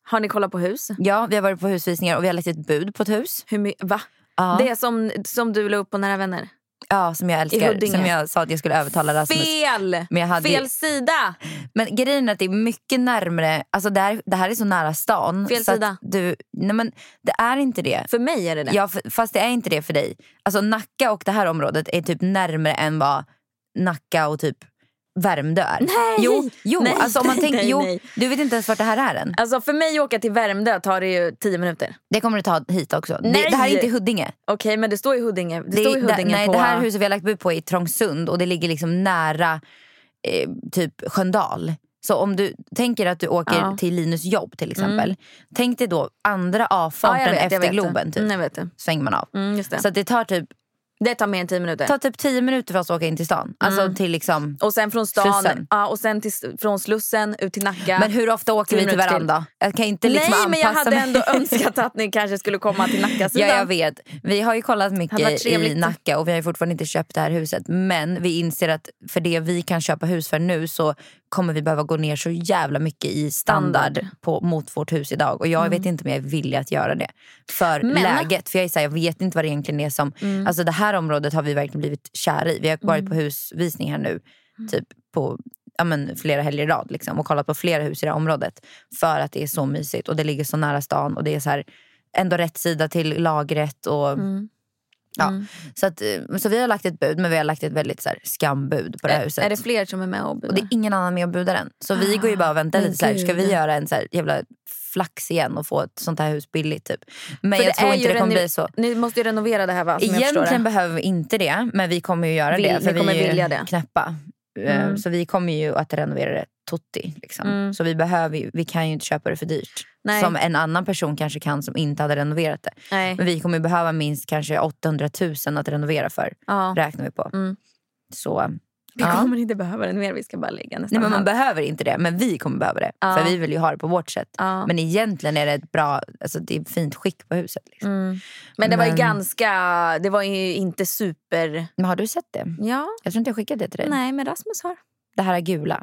har ni kollat på hus.
Ja, vi har varit på husvisningar och vi har lagt ett bud på ett hus.
Hur my- va?
Ja,
Det som, som du la upp på Nära vänner.
ja som jag älskar.
Huddinge.
Som jag sa att jag skulle övertala Rasmus.
Fel!
Men jag hade ju-
Fel sida!
Men grejen är att det är mycket närmre, alltså det här, det här är så nära stan.
Fel
så att
sida.
Du, nej men det är inte det.
För mig är det det.
Ja, f- fast det är inte det för dig. Alltså Nacka och det här området är typ närmare än vad Nacka och typ Värmdö är.
Nej!
Jo, jo
Nej,
alltså om man
nej,
tänker,
nej,
jo,
nej.
du vet inte ens vart det här är än.
Alltså för mig att åka till Värmdö tar det ju 10 minuter.
Det kommer du ta hit också. Det,
Nej!
det här är inte Huddinge.
Okej men det står ju Huddinge. Det,
är-
står ju
det-
Huddinge
nej,
på...
det här huset vi har lagt bud på är i Trångsund och det ligger liksom nära eh, typ Sköndal. Så om du tänker att du åker
Ja. Mm.
till Linus jobb till exempel. Tänk dig då andra
Ja,
avfarten
jag vet, jag
efter
vet.
Globen. Typ.
Mm, jag vet det.
Svänger man av.
Mm, just det.
Så att det tar typ
det tar mer än 10 minuter.
tar typ 10 minuter för oss att åka in till stan. Alltså till liksom...
Mm. Och sen från stan,
Slussen.
Ja, och sen till, från Slussen ut till Nacka.
Men hur ofta åker vi till
minuter till.
varandra? Jag kan inte liksom
Nej men jag
anpassa
hade
mig.
ändå önskat att ni kanske skulle komma till
Ja,
Nackasidan.
jag vet. Vi har ju kollat
Hade varit
mycket i
trevligt.
Nacka och vi har ju fortfarande inte köpt det här huset. Men vi inser att för det vi kan köpa hus för nu så kommer vi behöva gå ner så jävla mycket i standard på, mot vårt hus idag. Och jag vet inte om jag är villig att göra det. För
Men-
läget. För jag är så här, jag vet inte vad det egentligen är som... Alltså det här området har vi verkligen blivit kära i. Vi har varit på husvisning här nu. Typ på ja, men, flera helger i rad liksom, och kollat på flera hus i det här området. För att det är så
Mm.
mysigt och det ligger så nära stan och det är så här, ändå rätt sida till lagret. Och, Ja. Så, att, eh, så vi har lagt ett bud, men vi har lagt ett väldigt så här, skambud på det här huset.
Är det fler som är med och
och det är ingen annan med och budar än. Så vi går ju bara och väntar
Ah, men
lite. Så här, ska
gud.
vi göra en så här, jävla flax igen och få ett sånt här hus billigt? Typ. Men
För
jag
är
tror inte
ju
det kommer
reno-
bli så.
Ni måste ju renovera det här va? Som jag förstår
Egentligen
det.
behöver vi inte det, men vi kommer ju göra
Vill-
det. För
ni kommer
vi är ju
vilja det.
knäppa. Eh,
Mm.
Så vi kommer ju att renovera det tutti. Liksom.
Mm.
Så vi, behöver ju, vi kan ju inte köpa det för dyrt.
Nej.
Som en annan person kanske kan som inte hade renoverat det.
Nej.
Men vi kommer ju behöva minst kanske 800 000 att renovera för.
Ja.
Räknar vi på.
Mm.
Så,
Vi
ja.
kommer inte behöva den mer. Vi ska bara lägga nästan
Nej, men man
halv.
behöver inte det, men vi kommer behöva det.
Ja.
För vi vill ju ha det på vårt sätt.
Ja.
Men egentligen är det ett bra, alltså det är fint skick på huset. Liksom.
Mm. Men det var ju
Men-
ganska... Det var ju inte super...
Men har du sett det?
Ja,
Jag tror inte jag skickade det till dig.
nej men Rasmus har...
Det här är gula.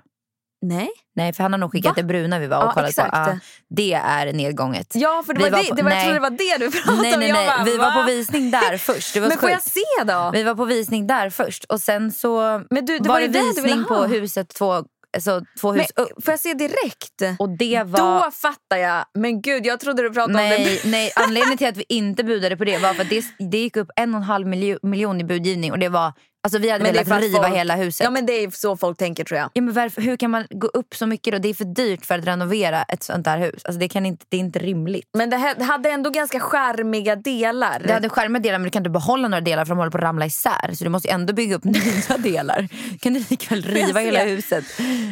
Nej.
Nej, för han har nog
Va?
skickat det bruna vi var och
Ja,
kollade
exakt.
på. Ja, det är nedgånget.
Ja, för det
Vi
var,
var
det,
på-
det var, jag
nej.
trodde det var det du pratade
nej,
om.
nej,
Jag
nej.
bara,
Vi var
va?
på visning där först. Det var
Men
så
får jag
sjukt.
se då?
Vi var på visning där först och sen så
Men du, det
var
var ju
det
det du ville
visning
ha.
på huset två, alltså, två hus
men,
upp.
får jag se direkt?
Och det var...
Då fattar jag. Men gud, jag trodde du pratade om
Nej,
det.
nej, anledningen till att vi inte budade på det var för att det, det gick upp en och en halv miljo, miljon i budgivning och det var, alltså vi hade
Men det är för
velat
att
riva
folk-
hela huset.
Ja, men det är så folk tänker tror jag.
Ja, men varför, hur kan man gå upp så mycket då? Det är för dyrt för att renovera ett sånt där hus. Alltså det, kan inte, det är inte rimligt.
Men det, här, det hade ändå ganska skärmiga delar.
Det hade skärmiga delar men du kan inte behålla några delar för de håller på att ramla isär. Så du måste ju ändå bygga upp nya delar. Kan du lika väl riva
ser.
hela huset?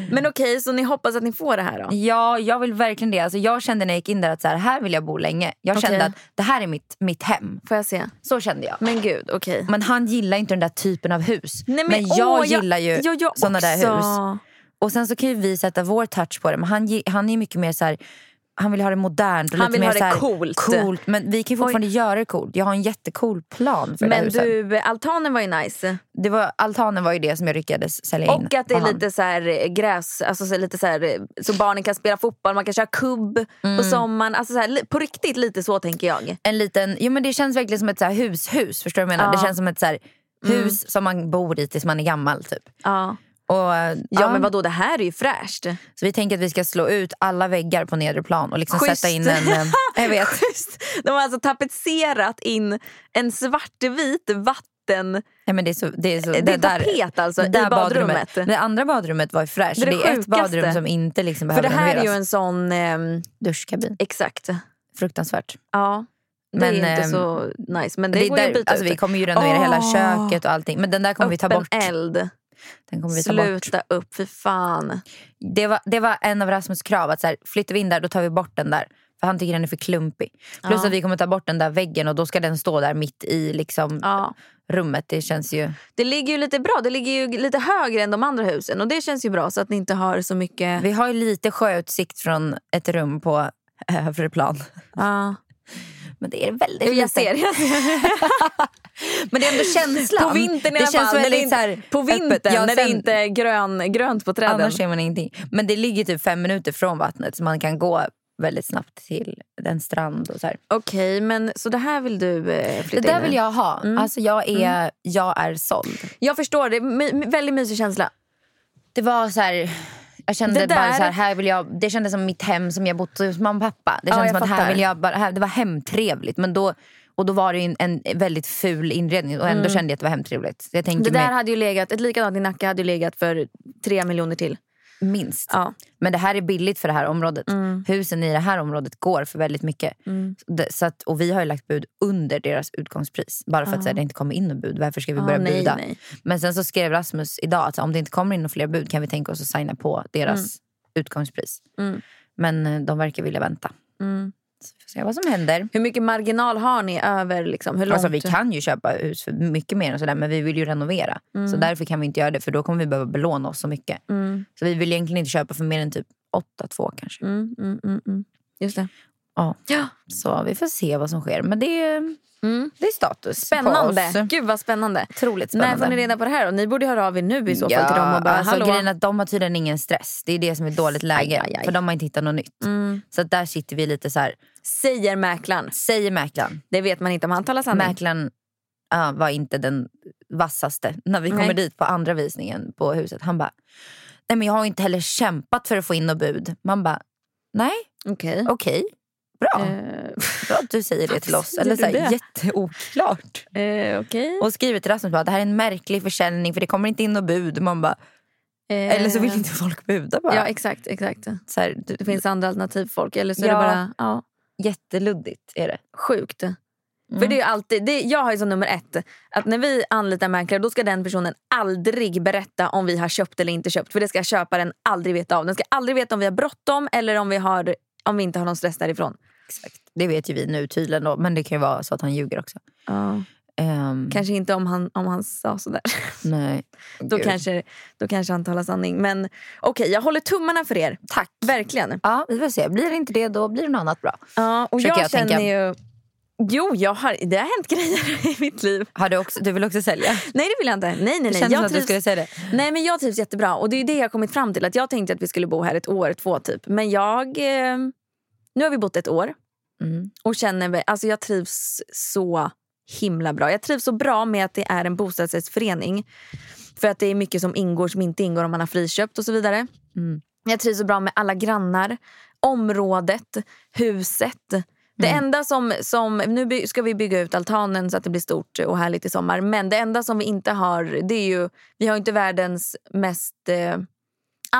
Men okej, så ni hoppas att ni får det här då?
Ja, jag vill verkligen det. Alltså, jag kände när jag gick in där att så här, här vill jag bo länge. Jag
Okej.
kände att det här är mitt, mitt hem.
Får jag se?
Så kände jag.
Men gud, okej.
Men han gillar ju inte den där typen av hus.
Nej,
men, jag
åh,
gillar ju
ja, jag
såna där
också.
hus. Och sen så kan ju vi sätta vår touch på det. Men han, gi- han är mycket mer så här... Han vill ha det modernt och
Han
lite
vill
mer
ha det
så här,
coolt.
Men vi kan ju fortfarande göra det coolt. Jag har en jättecool plan för det här
Men
huset.
du, altanen var ju nice.
Det var, altanen var ju det som jag lyckades sälja in.
Och att det
på
är
han.
lite så här eh, gräs, alltså så, här lite så, här, eh, så barnen kan spela fotboll, man kan köra kubb
Mm.
på sommaren. Alltså så här, li- på riktigt lite så tänker jag.
en liten, jo men det känns verkligen som ett så här hushus, förstår du vad jag menar?
Ja. Mm.
Det känns som ett så här hus som man bor i tills man är gammal typ.
Ja,
Och,
ja, men vadå det här är ju fräscht.
Så vi tänker att vi ska slå ut alla väggar på nedre plan och liksom
Schysst.
sätta in en... eh, Jag vet.
Schysst. De har alltså tapetserat in en svartvit vatten... eh,
Nej, men det är så, det är så,
Det är tapet alltså i badrummet.
Men Det andra badrummet var ju fräscht.
Det är
Det,
det
är ett
sjukaste.
badrum som inte liksom
För
behöver
det här är ju
renoveras.
en sån... ehm,
duschkabin.
exakt.
Fruktansvärt.
Ja. Det
Men,
är inte
ehm,
så nice. Men det,
Det är
går ju
där,
att byta
alltså,
ut.
vi kommer ju renovera hela
Åh.
köket och allting. Men den där kommer vi ta
Öppen
bort.
eld.
Den kommer vi ta bort.
Sluta upp, för fan.
Det, var, det var en av Rasmus krav. Att så här, flyttar vi in där, då tar vi bort den där. För han tycker den är för klumpig. Plus
Ja.
att vi kommer ta bort den där väggen och då ska den stå där mitt i liksom,
Ja.
rummet. Det känns ju...
Det ligger ju lite bra. Det ligger ju lite högre än de andra husen. Och det känns ju bra så att ni inte har så mycket...
Vi har ju lite sjöutsikt från ett rum på övre plan.
Ja.
Men det är väldigt
Jag
lite.
ser, jag ser.
Men det är ändå känslan.
På vintern i
det
alla fall. när det
väldigt
inte-
så här,
på
öppet.
vintern
Ja,
när det
sen-
inte är grön, grönt på träden.
Annars ser man ingenting. Men det ligger typ fem minuter från vattnet så man kan gå väldigt snabbt till den strand och så här.
Okej, men så det här vill du eh,
Det
flytta
där
in i?
vill jag ha. Alltså jag är, jag är såld.
Jag förstår, det är my, my- väldigt mysig känsla.
Det var så här... Jag kände
Det där-
bara så här, här vill jag, det kändes som mitt hem som jag bott hos mamma och pappa. Det
Ja,
kändes
jag
som att
fattar.
här vill jag bara, här, det var hemtrevligt. Men då, och då var det ju en, en väldigt ful inredning och ändå kände jag att det var hemtrevligt. Så jag tänker
Mm. Det där
mig,
hade ju legat, ett likadant i Nacka hade ju legat för tre miljoner till.
minst.
Ja. Mm.
Men det här är billigt för det här området. Husen i det här området går för väldigt mycket. Det- Så att, och vi har ju lagt bud under deras utgångspris. Bara för att så här, det inte kommer in något bud. Varför ska vi
Ah,
börja
nej,
buda?
nej.
Men sen så skrev Rasmus idag att så här, om det inte kommer in några fler bud kan vi tänka oss att signa på deras utgångspris.
Mm.
Men eh, de verkar vilja vänta.
Mm.
Så vi får se vad som händer.
Hur mycket marginal har ni över? Liksom? Hur långt?
Alltså, vi kan ju köpa hus för mycket mer och sådär men vi vill ju renovera. Så därför kan vi inte göra det för då kommer vi behöva belåna oss så mycket.
Mm,
Så vi vill egentligen inte köpa för mer än typ 8-2 kanske.
mm, mm, mm, mm. Just det.
Ja.
Ja.
Så vi får se vad som sker. Men det är,
Mm.
det är status på
Spännande.
oss.
Gud vad spännande.
Otroligt
När
spännande.
får ni reda på det här då? Ni borde höra av er nu i så fall
ja,
till dem och bara
alltså,
hallå.
grejen är att de har tydligen ingen stress. Det är det som är ett dåligt läge.
aj, aj.
För de har inte hittat något nytt.
Mm.
Så att där sitter vi lite så här.
Säger mäklaren.
Säger mäklaren.
Det vet man inte om han talar sanning.
Mäklaren ja, var inte den vassaste. När vi
Nej.
kommer dit på andra visningen på huset. Han bara, nej men jag har ju inte heller kämpat för att få in något bud. Man bara, nej
Okej.
okej, bra.
Eh,
jättebra att du säger det Mm. till oss.
Säger
Eller
du
så här,
det?
jätteoklart.
Eh, Okej.
Och skriver till Rasmus bara, det här är en märklig försäljning för det kommer inte in något bud. Man bara,
Eh,
eller så vill inte folk buda bara.
Ja, exakt. exakt.
så här, du,
Det finns andra alternativ folk. Eller så är
Ja.
det bara ja,
jätteluddigt är det.
sjukt. För det är ju alltid, det, jag har ju som nummer ett att när vi anlitar mäklare då ska den personen aldrig berätta om vi har köpt eller inte köpt. För det ska köparen aldrig veta av. Den ska aldrig veta om vi har bråttom eller om vi, har, om vi inte har någon stress därifrån.
Exakt. Det vet ju vi nu tydligen då, men det kan ju vara så att han ljuger också. Ehm,
Kanske inte om han, om han sa sådär.
nej.
Då
Gud.
kanske, då kanske han talar sanning. Men okej, jag håller tummarna för er. Tack. Verkligen.
Ja, vi får se. Blir det inte det då blir det något annat bra.
Ja, och
Försöker
jag,
jag
känner
tänka.
ju... Jo, jag har, det har hänt grejer i mitt liv.
Har du, också, du vill också sälja?
Nej, det vill jag inte. Nej, nej,
Det
nej.
kändes som
Jag
att du
trivs,
skulle säga det.
nej, men jag trivs jättebra. Och det är ju det jag har kommit fram till. Att jag tänkte att vi skulle bo här ett år, två typ. Men jag... Eh, nu har vi bott ett år.
Mm.
Och känner mig, alltså jag trivs så himla bra. Jag trivs så bra med att det är en bostadsrättsförening. För att det är mycket som ingår som inte ingår om man har friköpt och så vidare.
Mm.
Jag trivs så bra med alla grannar, området, huset. Det
Mm.
enda som, som, nu by- ska vi bygga ut altanen så att det blir stort och härligt i sommar. Men det enda som vi inte har, det är ju, vi har ju inte världens mest eh,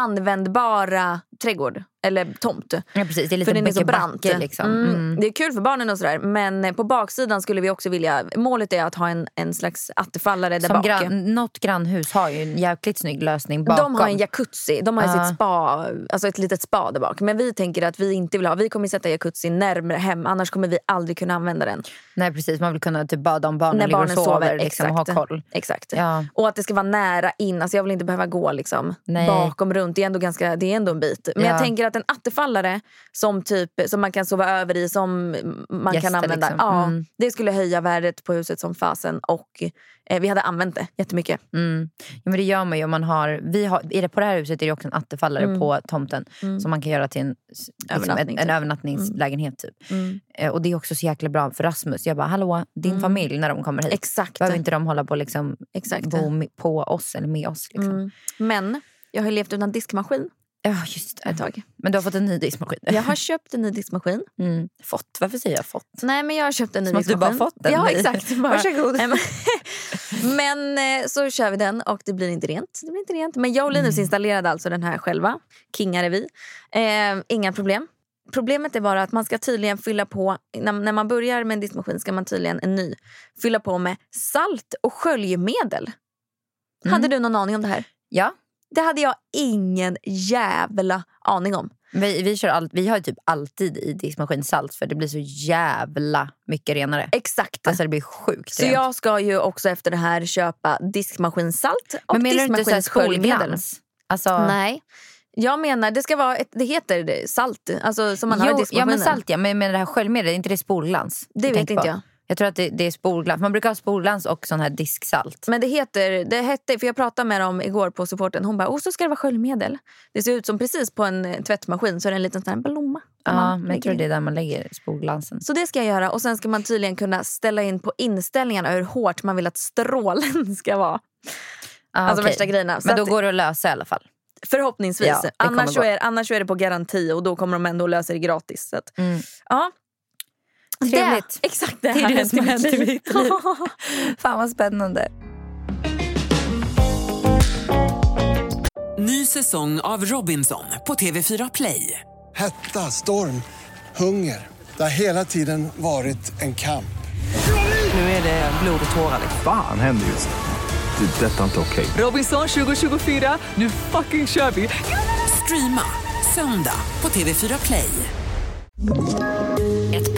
användbara trädgård eller tomt.
Ja, precis. Det är lite
För den är så
bäckebacke,
brant.
Liksom.
Mm.
Mm.
Det är kul för barnen och sådär. Men eh, på baksidan skulle vi också vilja... Målet är att ha en, en slags attefallare där
Som
bak.
grann, något grannhus har ju en jäkligt snygg lösning bakom.
De har en jacuzzi, de har ju
Ja.
sitt spa, alltså ett litet spa där bak. Men vi tänker att vi inte vill ha, vi kommer sätta jacuzzi närmare hem annars kommer vi aldrig kunna använda den.
Nej precis, man vill kunna typ bada om barnen
När
ligger och
barnen sover,
liksom, och ha
exakt.
koll.
Exakt.
Ja.
Och att det ska vara nära in, alltså jag vill inte behöva gå liksom
Nej.
bakom runt, det är ändå, ganska, det är ändå en bit. Men
Ja.
jag tänker att en attefallare som, typ, som man kan sova över i, som man kan
Gäster,
använda,
liksom.
ja,
Mm.
det skulle höja värdet på huset som fasen och eh, vi hade använt det jättemycket.
Mm. Ja, men det gör man ju. om Man har, vi har, i det, på det här huset är det också en attefallare på tomten som man kan göra till en, s- liksom, en,
Övernattning,
en
typ.
övernattningslägenhet. Typ. Eh, Och det är också så jäkla bra för Rasmus. Jag bara, hallå, din familj när de kommer hit.
Exakt.
Behöver inte de hålla på och liksom,
Exakt.
bo med- på oss eller med oss. Liksom.
Mm. Men jag har ju levt utan diskmaskin
Ja, just det.
ett tag.
Men du har fått en ny diskmaskin.
Jag har köpt en ny diskmaskin.
Mm. Fått? Varför säger jag fått?
Nej men jag har köpt en ny
Som att du bara
diskmaskin.
fått den.
Ja
Nej.
exakt. Bara.
Varsågod.
Nej, men- men eh, så kör vi den och det blir inte rent. Det blir inte rent. Men jag och
Mm.
Linus installerade alltså den här själva. Kingar är vi. Eh, inga problem. Problemet är bara att man ska tydligen fylla på, när, när man börjar med en diskmaskin ska man tydligen en ny fylla på med salt och sköljmedel.
Mm.
Hade du någon aning om det här?
Ja.
Det hade jag ingen jävla aning om.
Vi, vi, kör all, vi har ju typ alltid i diskmaskin salt för det blir så jävla mycket renare.
Exakt.
Alltså det blir sjukt
Så
rent.
jag ska ju också efter det här köpa diskmaskinsalt och
Men menar du inte så här
diskmaskinssköljmedel.
skolglans? Alltså,
Nej. Jag menar, det ska vara ett, det heter det, salt, alltså som man har i
jo, ja,
diskmaskinen.
men salt ja. Men jag menar det här sköljmedlet, är inte det spolglans?
Det
Jag
vet
tänker
inte
på.
jag.
Jag tror att det, det är spolglans. Man brukar ha spolglans och sån här disksalt.
Men det heter, det hette, för jag pratade med dem igår på supporten. Hon bara, oh så ska det vara sköljmedel. Det ser ut som precis på en eh, tvättmaskin så är det en liten sån här blomma. där
Ja,
man
men
lägger
jag tror
in.
det är där man lägger spolglansen.
Så det ska jag göra och sen ska man tydligen kunna ställa in på inställningarna hur hårt man vill att strålen ska vara.
Ah,
Alltså
okej.
värsta grejerna. Så
Men då
att-
går det att lösa i alla fall.
Förhoppningsvis.
Ja, det kommer
annars, så
gå.
är, annars så är det på garanti och då kommer de ändå lösa det gratis. Så att,
Mm.
ja.
Trevligt.
Det, exakt det,
Det är
här
det som har hänt i mitt liv.
Ja.
Fan vad spännande.
Ny säsong av Robinson på TV4 Play.
Hetta, storm, hunger. Det har hela tiden varit en kamp.
Nu är det blod och tårar. liksom.
Fan händer just det. Det är detta inte okej.
Robinson 2024, nu fucking kör vi! Streama söndag på TV4 Play.
Ett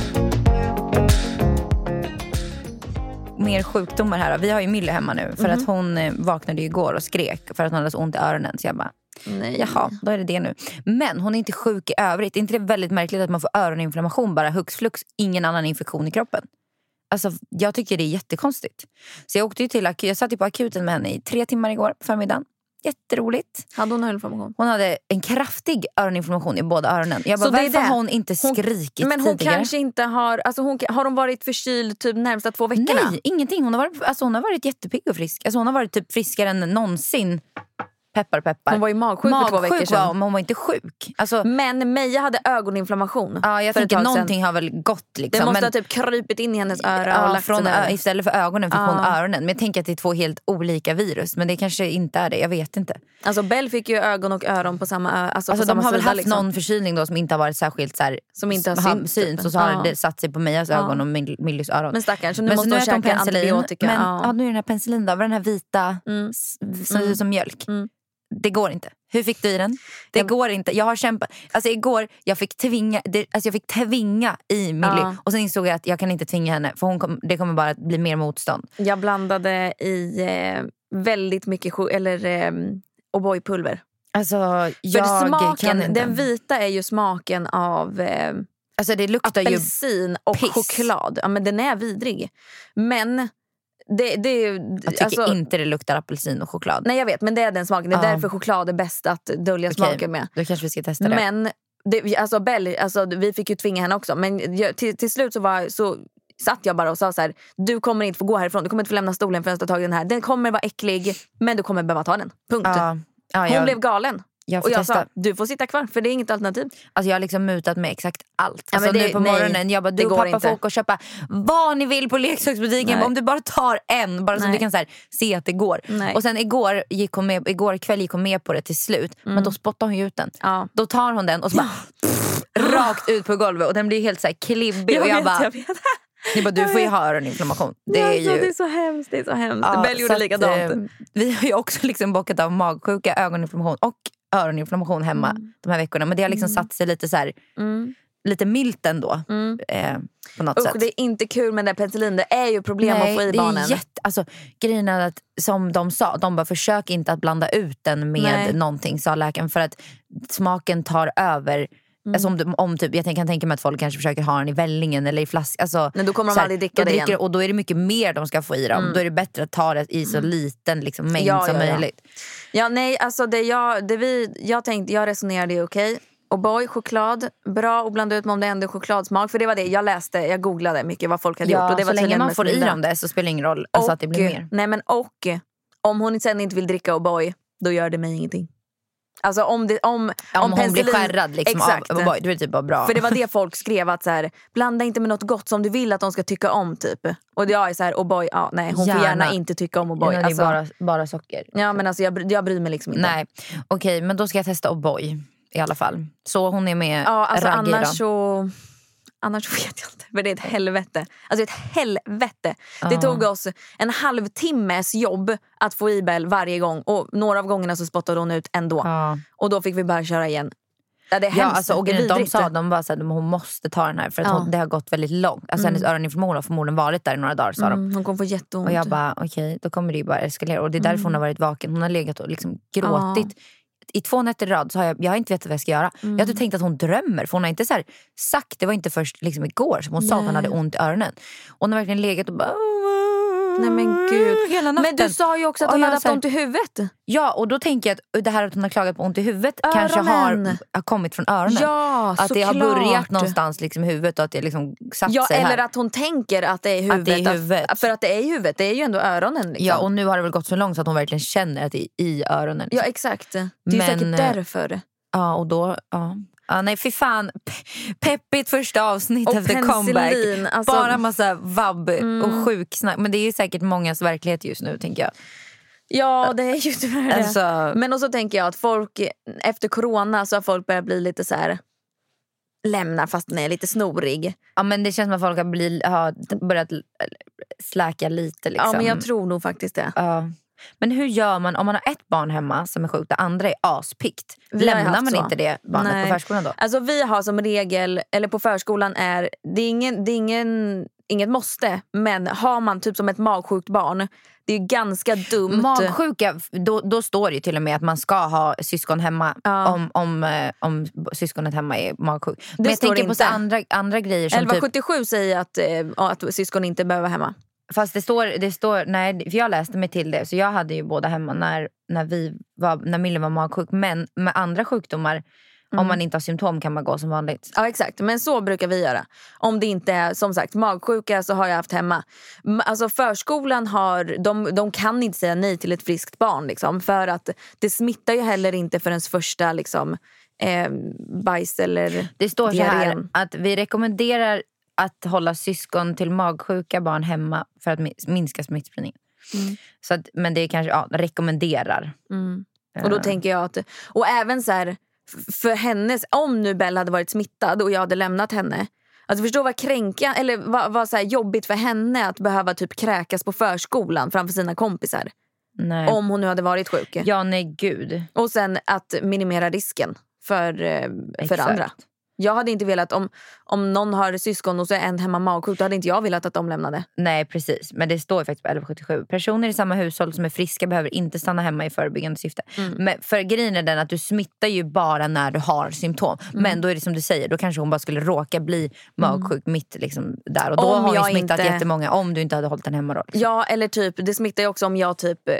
mer sjukdomar här. Vi har ju Milly hemma nu. För
Mhm.
att hon eh, vaknade ju igår och skrek för att hon hade så ont i öronen. Så jag bara,
Nej.
jaha, då är det det nu. Men hon är inte sjuk i övrigt. Är inte det väldigt märkligt att man får öroninflammation bara hux flux? Ingen annan infektion i kroppen. Alltså, jag tycker det är jättekonstigt. Så jag, åkte ju till akut, jag satt ju på akuten med henne i tre timmar igår på förmiddagen. Jätteroligt.
Hade hon öroninflammation?
Hon hade en kraftig öroninflammation i båda öronen. Jag bara,
Så det är
varför
det.
har hon inte skrikit
Men hon
tidigare?
kanske inte har... Alltså hon, har hon varit förkyld typ närmsta två veckorna?
Nej, ingenting. Hon har varit, alltså hon har varit jättepigg och frisk. Alltså hon har varit typ friskare än någonsin. Peppar, peppar.
Hon var ju magsjuk för två veckor
Magsjuk
sedan.
var hon, men hon var inte sjuk. Alltså,
Men Meja hade ögoninflammation.
ja, jag
för ett
tänker
tag sedan.
någonting har väl gått. Liksom.
Det måste
men,
ha typ krypit in i hennes öra och
ja,
lagt sig
från,
där.
ö- istället för ögonen fick hon
Ja.
öronen. Men jag tänker att det är två helt olika virus. Men det kanske inte är det. Jag vet inte.
Alltså Bell fick ju ögon och öron på samma ö- alltså,
Alltså,
på
de
samma
har väl
sida,
haft
liksom.
någon förkylning då som inte har varit särskilt så här,
Som inte har synts, typ.
och så har
Ja.
det satt sig på Mejas
Ja.
ögon och Mill- Millys öron.
Men stackars, så nu måste hon
äter
käka antibiotika.
Men,
Ja. Mm.
ja. nu är den här penicillin då, var den här vita s- som ser ut som mjölk. Det går inte. Hur fick du i den? Det går inte. Jag har kämpat. Alltså igår, jag fick tvinga, det, alltså jag fick tvinga i Millie.
Ja.
Och sen insåg jag att jag kan inte tvinga henne för hon kom, det kommer bara att bli mer motstånd.
Jag blandade i eh, väldigt mycket chok- eller eh, O'boy-pulver.
Alltså
För
jag kan
smaken,
inte.
den vita är ju smaken av eh,
alltså det luktar ju
apelsin och
piss.
choklad. Ja, men den är vidrig. Men det, det är ju... alltså-
jag tycker inte det luktar apelsin och choklad.
Nej jag vet men det är den smaken. Det är
Ja.
därför choklad är bäst att dölja
Okej,
smaken med.
Då kanske vi ska testa det.
Men det, alltså Bell, alltså, vi fick ju tvinga henne också. Men jag, till, till slut så, var, så satt jag bara och sa så här. Du kommer inte få gå härifrån. Du kommer inte få lämna stolen förrän du har tagit den här. Den kommer vara äcklig men du kommer behöva ta den. Punkt.
ja, ja,
Hon
jag,
blev galen.
jag får
Och jag
testa.
sa du får sitta kvar för det är inget alternativ.
Alltså jag har liksom mutat med exakt allt.
Ja, men
alltså
det-
nu på
nej,
morgonen, jag bara
det
du och
går
pappa
inte.
får åka och köpa vad ni vill på leksaksbutiken.
Nej.
Om du bara tar en, bara så
Nej.
du kan så här, se att det går.
Nej.
Och sen igår, gick hon med, igår kväll gick hon med på det till slut. Men då spottar hon ju ut den.
Ja.
Då tar hon den och så bara rakt ut på golvet och den blir helt så här klibbig. och jag
vet,
bara,
jag vet.
ni bara du
jag
får ju
vet.
ha öroninflammation. Det är
alltså,
ju...
det är så hemskt. Det är så hemskt.
Ja,
Bell gjorde
så att,
likadant.
eh, vi har ju också liksom bockat av magsjuka, ögoninflammation och öroninflammation hemma
Mm.
de här veckorna. Men det har liksom satt sig lite så här, lite milt ändå. Eh, på något
Usch,
sätt.
Mm. det är inte kul med den där penicillin. Det är ju problem att få i
det
barnen.
är jätte, alltså, grejen är att som de sa, de bara försök inte att blanda ut den med
Nej.
någonting sa läkaren för att smaken tar över.
Mm.
Alltså om, du- om typ, jag tänk- kan tänka mig att folk kanske försöker ha den i vällingen eller i flaska. Alltså,
Nej, då kommer de
så här,
aldrig dricka
då
det
dricker-
igen. Mm.
Och då är det mycket mer de ska få i dem. Då är det bättre att ta det i så liten liksom, mängd
Ja,
som
ja, ja.
möjligt.
Ja, nej, alltså det jag, det vi, jag tänkte, jag resonerade ju okej. O'boy, choklad. Bra att blanda ut med om det ändå är chokladsmak. För det var det jag läste, jag googlade mycket vad folk hade
Ja,
gjort. Och det var
så länge
tydligen
man
mest
får i
mina.
dem det så spelar det ingen roll alltså, att det blir mer.
Nej men och, om hon sen inte vill dricka O'boy, då gör det mig ingenting. Alltså om, det, om,
Om, hon blir
penicillin-
skärrad liksom,
Exakt.
av O'boy, då är det typ bara bra.
För det var det folk skrev att så här, blanda inte med något gott som du vill att de ska tycka om typ. Och jag är så här, O'boy, ja nej hon får
Gärna.
gärna inte tycka om
Ja,
O'boy.
det är
Alltså,
bara, bara socker.
Ja men alltså jag, bry- jag bryr mig liksom inte.
Nej, okej men då ska jag testa O'boy i alla fall. Så hon är med
Ja, alltså
Ragge idag.
annars så... Annars så vet jag inte. Men det är ett helvete. Alltså ett helvete. Det
Ja.
tog oss en halvtimmes jobb att få i Bell varje gång. Och några av gångerna så spottade hon ut ändå.
Ja,
Och då fick vi bara köra igen. Ja, det är
ja
hemskt.
alltså, och
Det är
grejen, de
vidrigt.
sa de bara så här, de- hon måste ta den här för att
Ja.
hon, det har gått väldigt långt. Alltså hennes öroninflammation har förmodligen varit där i några dagar sa de.
Mm, hon kommer få jätteont.
Och jag bara okej, då kommer det ju bara eskalera. Och det är därför
Mm.
hon har varit vaken. Hon har legat och liksom gråtit. I två nätter i rad så har jag, jag har inte vetat vad jag ska göra. Jag
Mm.
hade tänkt att hon drömmer. För hon har inte så här sagt, det var inte först liksom igår som hon sa att hon hade ont i öronen. Och hon har verkligen legat och bara...
Nej men gud.
Hela natten.
Men du sa ju också att
Och
hon
jag
hade haft
så här-
ont i huvudet.
Ja, och då tänker jag att det här att hon har klagat på ont i huvudet kanske
Öronen.
har, har kommit från öronen.
Ja,
att det har
såklart.
börjat någonstans liksom, i huvudet och att det liksom satt
Ja,
sig
eller
här.
att hon tänker att det är i huvudet.
Att det är i huvudet.
för att det är i huvudet. Det är ju ändå öronen. Liksom.
Ja, och nu har det väl gått så långt så att hon verkligen känner att det är i öronen.
ja
liksom.
exakt. Det är ju
Men,
säkert
eh,
därför.
Ja, och då... Ja. Ja, nej, fy fan. Pe- peppigt första avsnitt
Och
efter comeback.
penicillin, alltså- Mm.
Bara massa vabb och sjuksnack. Men det är säkert mångas verklighet just nu, tänker jag.
Ja, det är ju tyvärr det.
Alltså-
Men också tänker jag att folk efter corona så har folk börjat bli lite så här lämna fast den är lite snorig.
Ja, men det känns som att folk har, bli, har börjat l- släka lite. Liksom.
Ja, men jag tror nog faktiskt det.
Ja. Men hur gör man om man har ett barn hemma som är sjukt, det andra är aspikt?
Vi har ju
Lämnar
haft
man
så.
inte det barnet
Nej.
på förskolan då?
Alltså vi har som regel, eller på förskolan är, det är, ingen, det är ingen, inget måste, men har man typ som ett magsjukt barn, det är ju ganska dumt.
Magsjuka, då, då står det ju till och med att man ska ha syskon hemma om, om, eh, om syskonet hemma är magsjuk. Men jag
står
tänker på
inte.
så andra, andra grejer som typ...
1177 säger att, eh, att syskon inte behöver vara hemma.
Fast det står, det står, nej för jag läste mig till det. Så jag hade ju båda hemma när, när, vi var, när Mille var magsjuk. Men med andra sjukdomar,
Mm.
om man inte har symptom kan man gå som vanligt.
Ja exakt, men så brukar vi göra. Om det inte är som sagt magsjuka så har jag haft hemma. M- Alltså förskolan har, de, de kan inte säga nej till ett friskt barn liksom, för att det smittar ju heller inte förrän första liksom, eh, bajs eller
Det står så här
diarrén.
att vi rekommenderar att hålla syskon till magsjuka barn hemma för att mi- minska smittspridningen.
Mm.
Så att, men det är kanske, ja, rekommenderar. Eh,
Och då tänker jag att, och även så här, f- för hennes, om nu Bella hade varit smittad och jag hade lämnat henne. Alltså förstå vad kränka, eller vad, vad så här jobbigt för henne att behöva typ kräkas på förskolan framför sina kompisar.
Nej.
Om hon nu hade varit sjuk.
Ja, nej gud.
Och sen att minimera risken för, eh, för
Exakt.
andra. Jag hade inte velat, om, om någon har syskon och så är en hemma magsjuk, då hade inte jag velat att de lämnade.
Nej precis, men det står ju faktiskt på 1177. Personer i samma hushåll som är friska behöver inte stanna hemma i förebyggande syfte.
Mm.
Men för grejen är den att du smittar ju bara när du har symptom.
Mm.
Men då är det som du säger, då kanske hon bara skulle råka bli magsjuk mitt liksom där. Och då
Mm. Om
har hon
jag
ju smittat
inte-
jättemånga om du inte hade hållit den hemma då. Liksom.
Ja, eller typ, det smittar ju också om jag typ eh,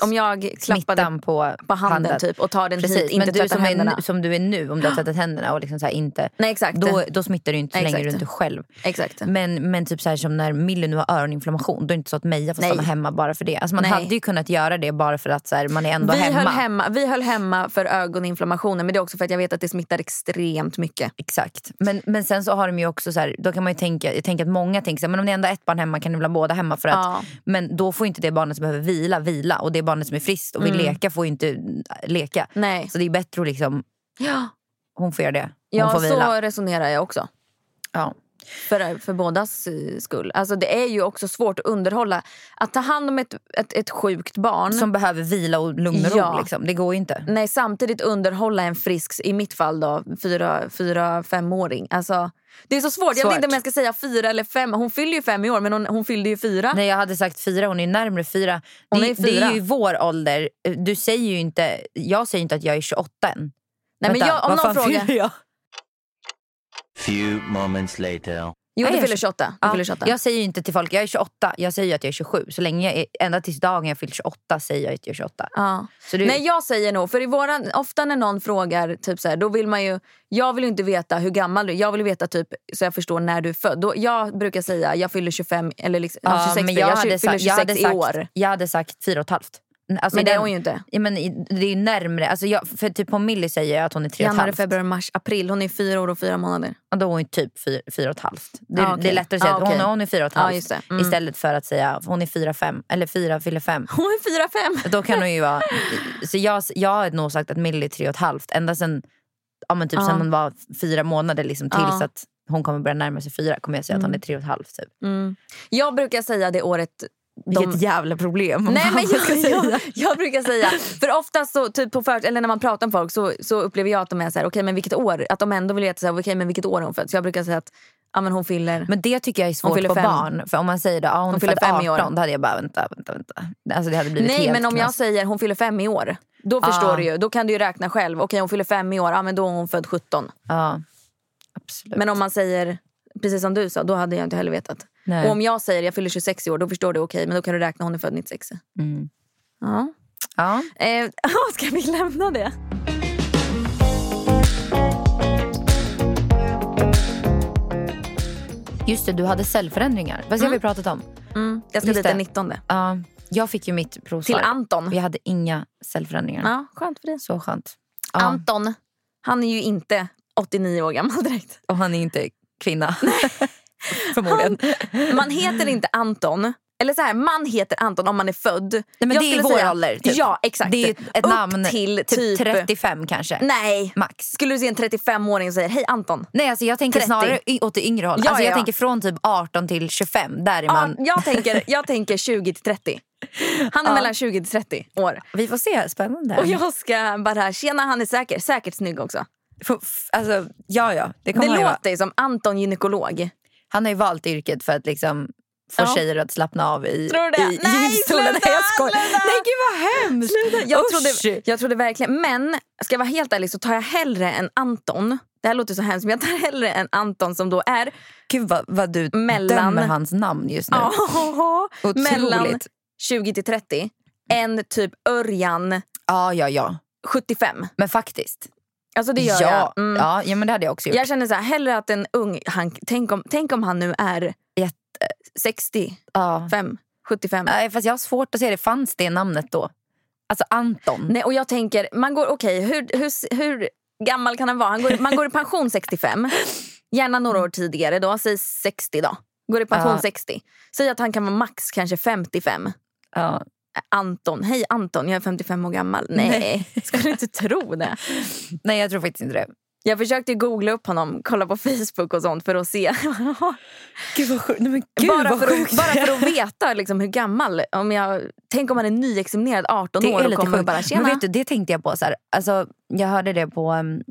om jag klappade
Smittan på,
på handen, typ och tar den
Precis,
hit, inte
men du
tvättar
som
händerna.
är, som du är nu, om du har tvättat händerna och liksom så här inte...
Nej exakt.
Då, då smittar du ju inte så länge
Exakt.
du inte är själv.
exakt.
Men, men typ så här som när Millie nu har öroninflammation, då är det inte så att Meja får
Nej.
stanna hemma bara för det. Alltså man
Nej.
hade ju kunnat göra det bara för att så här, man är ändå
vi,
hemma.
Höll hemma, vi höll hemma för ögoninflammationen men det är också för att jag vet att det smittar extremt mycket.
Exakt. Men, men sen så har de ju också så här, då kan man ju tänka, jag tänker att många tänker så här, men om det är ändå är ett barn hemma kan ni väl ha båda hemma för att,
Ja.
men då får ju inte det barnet som behöver vila vila och det barnet som är friskt och vill leka får ju inte leka.
Mm. Nej.
Så det är bättre att liksom,
Ja,
hon får göra det. Hon
ja
får vila.
så resonerar jag också.
Ja.
För, för bådas eh, skull. Alltså det är ju också svårt att underhålla. Att ta hand om ett, ett, ett sjukt barn.
Som behöver vila och lugn och
Mm.
ro.
Ja. Mm.
Liksom. Det går ju inte.
Nej, samtidigt underhålla en frisk, i mitt fall då, fyra, fyra femåring. Alltså, det är så svårt. Jag
Svårt.
vet inte om jag ska säga fyra eller fem. Hon fyller ju fem i år men hon, hon fyllde ju fyra.
Nej, jag hade sagt fyra. Hon är närmare fyra.
Hon
det,
är
det är
fyra.
ju i vår ålder. Eh, Du säger ju inte, jag säger inte att jag är 28 än.
Nej, men
Vänta,
jag, om
vad
någon
fan
frågar.
fyller jag?
Few moments later.
Jo,
Jag
du
är
fyller 28. Du
Ja,
fyller 28.
Jag säger ju inte till folk jag är 28. Jag säger ju att jag är 27. Så länge jag är, ända tills dagen jag fyllt 28 säger jag att jag är 28.
Ja.
Så du,
Nej jag säger nog, för i våran, ofta när någon frågar, typ så här, då vill man ju, jag vill ju inte veta hur gammal du är, jag vill veta typ så jag förstår när du är född. Då, jag brukar säga jag fyller 25 eller liksom, ja, 26,
men
blir jag,
hade
fyller
sagt-
26
jag hade
i
sagt,
år.
Jag hade sagt fyra och ett halvt. Alltså
Men det
den-
är hon ju inte.
Ja, men i- det är ju närmre. Alltså jag, för typ på Millie säger jag att hon är tre och ett
Januari,
halvt.
februari, mars, april. Hon är fyra år och fyra månader.
Ja, då är hon ju typ fyra, fyra och ett halvt. Det,
Ja, Ah, okej.
det är lättare att säga
Ja,
att hon,
okej.
hon är fyra och ett
Ja,
halvt
just det. Mm.
istället för att säga hon är fyra, fem. Eller fyra, fyller fem.
Hon är fyra, fem!
Då kan hon ju vara... Så jag, jag har nog sagt att Millie är tre och ett halvt. Ända sen, ja, men typ sen
Ah.
hon var fyra månader liksom, tills
Ja.
att hon kommer börja närma sig fyra kommer jag säga att
Mm.
hon är tre och ett halvt. Typ.
Jag brukar säga det året de
Vilket jävla problem.
Nej, men jag, jag, jag brukar säga, för ofta så, typ på för, eller när man pratar om folk så, så upplever jag att de är så här, okej men vilket år, att de ändå vill veta så här, okej men vilket år hon född. Så jag brukar säga att ja, men hon fyller...
Men det tycker jag är svårt
fyller
på
fem.
barn. För om man säger då, ah, hon,
Hon
hon
fyller
fyller
fem i år.
18, då hade jag bara vänta, vänta, vänta. Alltså det hade blivit
Nej
helt
men om jag
knas.
säger hon fyller fem i år, då förstår du ju. Då kan du ju räkna själv. Okej hon fyller fem i år, ja men då är hon född 17.
Ja, absolut.
Men om man säger, precis som du sa, då hade jag inte heller vetat.
Nej.
Och om jag säger jag fyller 26 i år, då förstår du okej men då kan du räkna hon är född 96.
Mm.
Ja.
ja.
Eh, ska vi lämna det?
Just det, du hade cellförändringar. Vad har vi pratat om?
Mm. Jag ska
Just
dit
det.
den 19.
Ja, jag fick ju mitt provsvar.
Till Anton.
Vi hade inga cellförändringar.
Ja, skönt för dig.
Så skönt. Ja.
Anton, han är ju inte 89 år gammal direkt.
Och han är inte kvinna.
Han,
Förmodligen.
man heter inte Anton Eller så här, man heter Anton om man är född. Nej,
men det är i vår ålder, typ.
Ja exakt.
Det är ett
Upp
namn,
till Mm.
typ 35 kanske.
Nej.
Max.
Skulle du se en 35-åring och säga hej Anton?
Nej, alltså jag tänker
30.
snarare y- åt det yngre hållet.
Ja,
alltså jag
ja, ja.
tänker från typ 18 till 25. Där är man...
Ja, jag, tänker, jag tänker 20 till 30. Han är
Ja.
mellan 20 till 30 år.
Vi får se, spännande.
Och jag ska bara, tjena han är säker, säkert snygg också.
F- f- alltså, ja, ja. Det,
Det
kommer han ju vara.
låter ju som Anton gynekolog.
Han har ju valt yrket för att liksom få
Ja.
tjejer att slappna av i,
Tror du det?
i
Nej,
ljusstolen.
sluta,
Nej, jag skojar.
sluta!
Nej, gud vad hemskt.
Jag
Usch.
trodde, jag trodde verkligen, men ska jag vara helt ärlig så tar jag hellre en Anton. Det här låter så hemskt men jag tar hellre en Anton som då är
Gud vad, vad du
Mellan-
dömer hans namn just nu. Otroligt.
mellan 20 till 30 än typ Örjan
Ja, ja, ja.
75.
Men faktiskt.
Alltså det gör
ja.
jag. Mm.
Ja, ja, men det hade jag också gjort.
Jag känner så här, hellre att en ung, han, tänk, om, tänk om han nu är
Jätte-
60,
Ja.
5, 75.
Nej, Fast jag har svårt att se det. Fanns det namnet då? Alltså Anton.
Nej, och jag tänker, man går, okej, hur, hur, hur gammal kan han vara? Han går, man går i pension 65, gärna några år tidigare då, säg 60 då. Går i pension
Ja.
60. Säg att han kan vara max kanske 55.
Ja.
Anton, hej Anton, jag är 55 år gammal. Nej, skulle du inte tro det?
Nej, jag tror faktiskt inte det.
Jag försökte googla upp honom, kolla på Facebook och sånt för att se.
Gud vad sjukt. Nej, men
bara, för att, bara för att veta liksom hur gammal. Om jag, tänk om han är nyexaminerad 18
Det
år
är
och
lite
kommer och
sjukt.
bara
Men
tjena.
vet du, det tänkte jag på. Så här. Alltså, jag hörde det på um,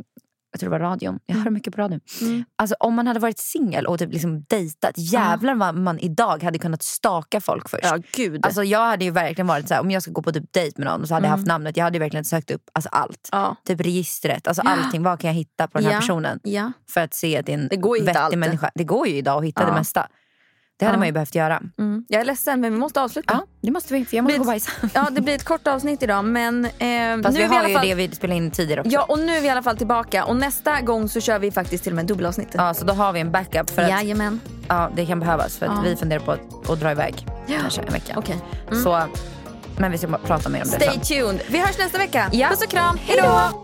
jag tror det var radion. Jag hör mycket på radion.
Mm.
Alltså, om man hade varit singel och typ liksom dejtat, jävlar vad man idag hade kunnat staka folk först.
Ja, gud.
Alltså, jag hade ju verkligen varit så här, om jag ska gå på typ dejt med någon så hade jag
Mm.
haft namnet. Jag hade verkligen sökt upp alltså, allt.
ja.
Typ registret, alltså
Ja.
allting. Vad kan jag hitta på den här
Ja.
personen?
Ja.
För att se att det är en
Det går ju att hitta allt.
vettig människa. Det går ju idag att hitta
Ja.
det mesta. Det hade
Ja.
man ju behövt göra.
Mm. Jag är ledsen men vi måste avsluta.
Ja, det måste vi. För jag måste
Blir-
gå och bajsa.
Ja, det blir ett kort avsnitt idag men eh,
Fast
nu
vi
är vi i
har
alla
ju
fall...
det vi spelade in tidigare också.
Ja, och nu är vi i alla fall tillbaka och nästa gång så kör vi faktiskt till och med dubbelavsnitt.
Ja, så då har vi en backup för att
Jajamän.
ja, det kan behövas. För att
Ja.
vi funderar på att, att dra iväg kanske en vecka.
Okej. Mm.
Så, men vi ska bara prata mer om det
Stay
sen.
tuned. Vi hörs nästa vecka.
Ja.
Puss och kram. Hej då!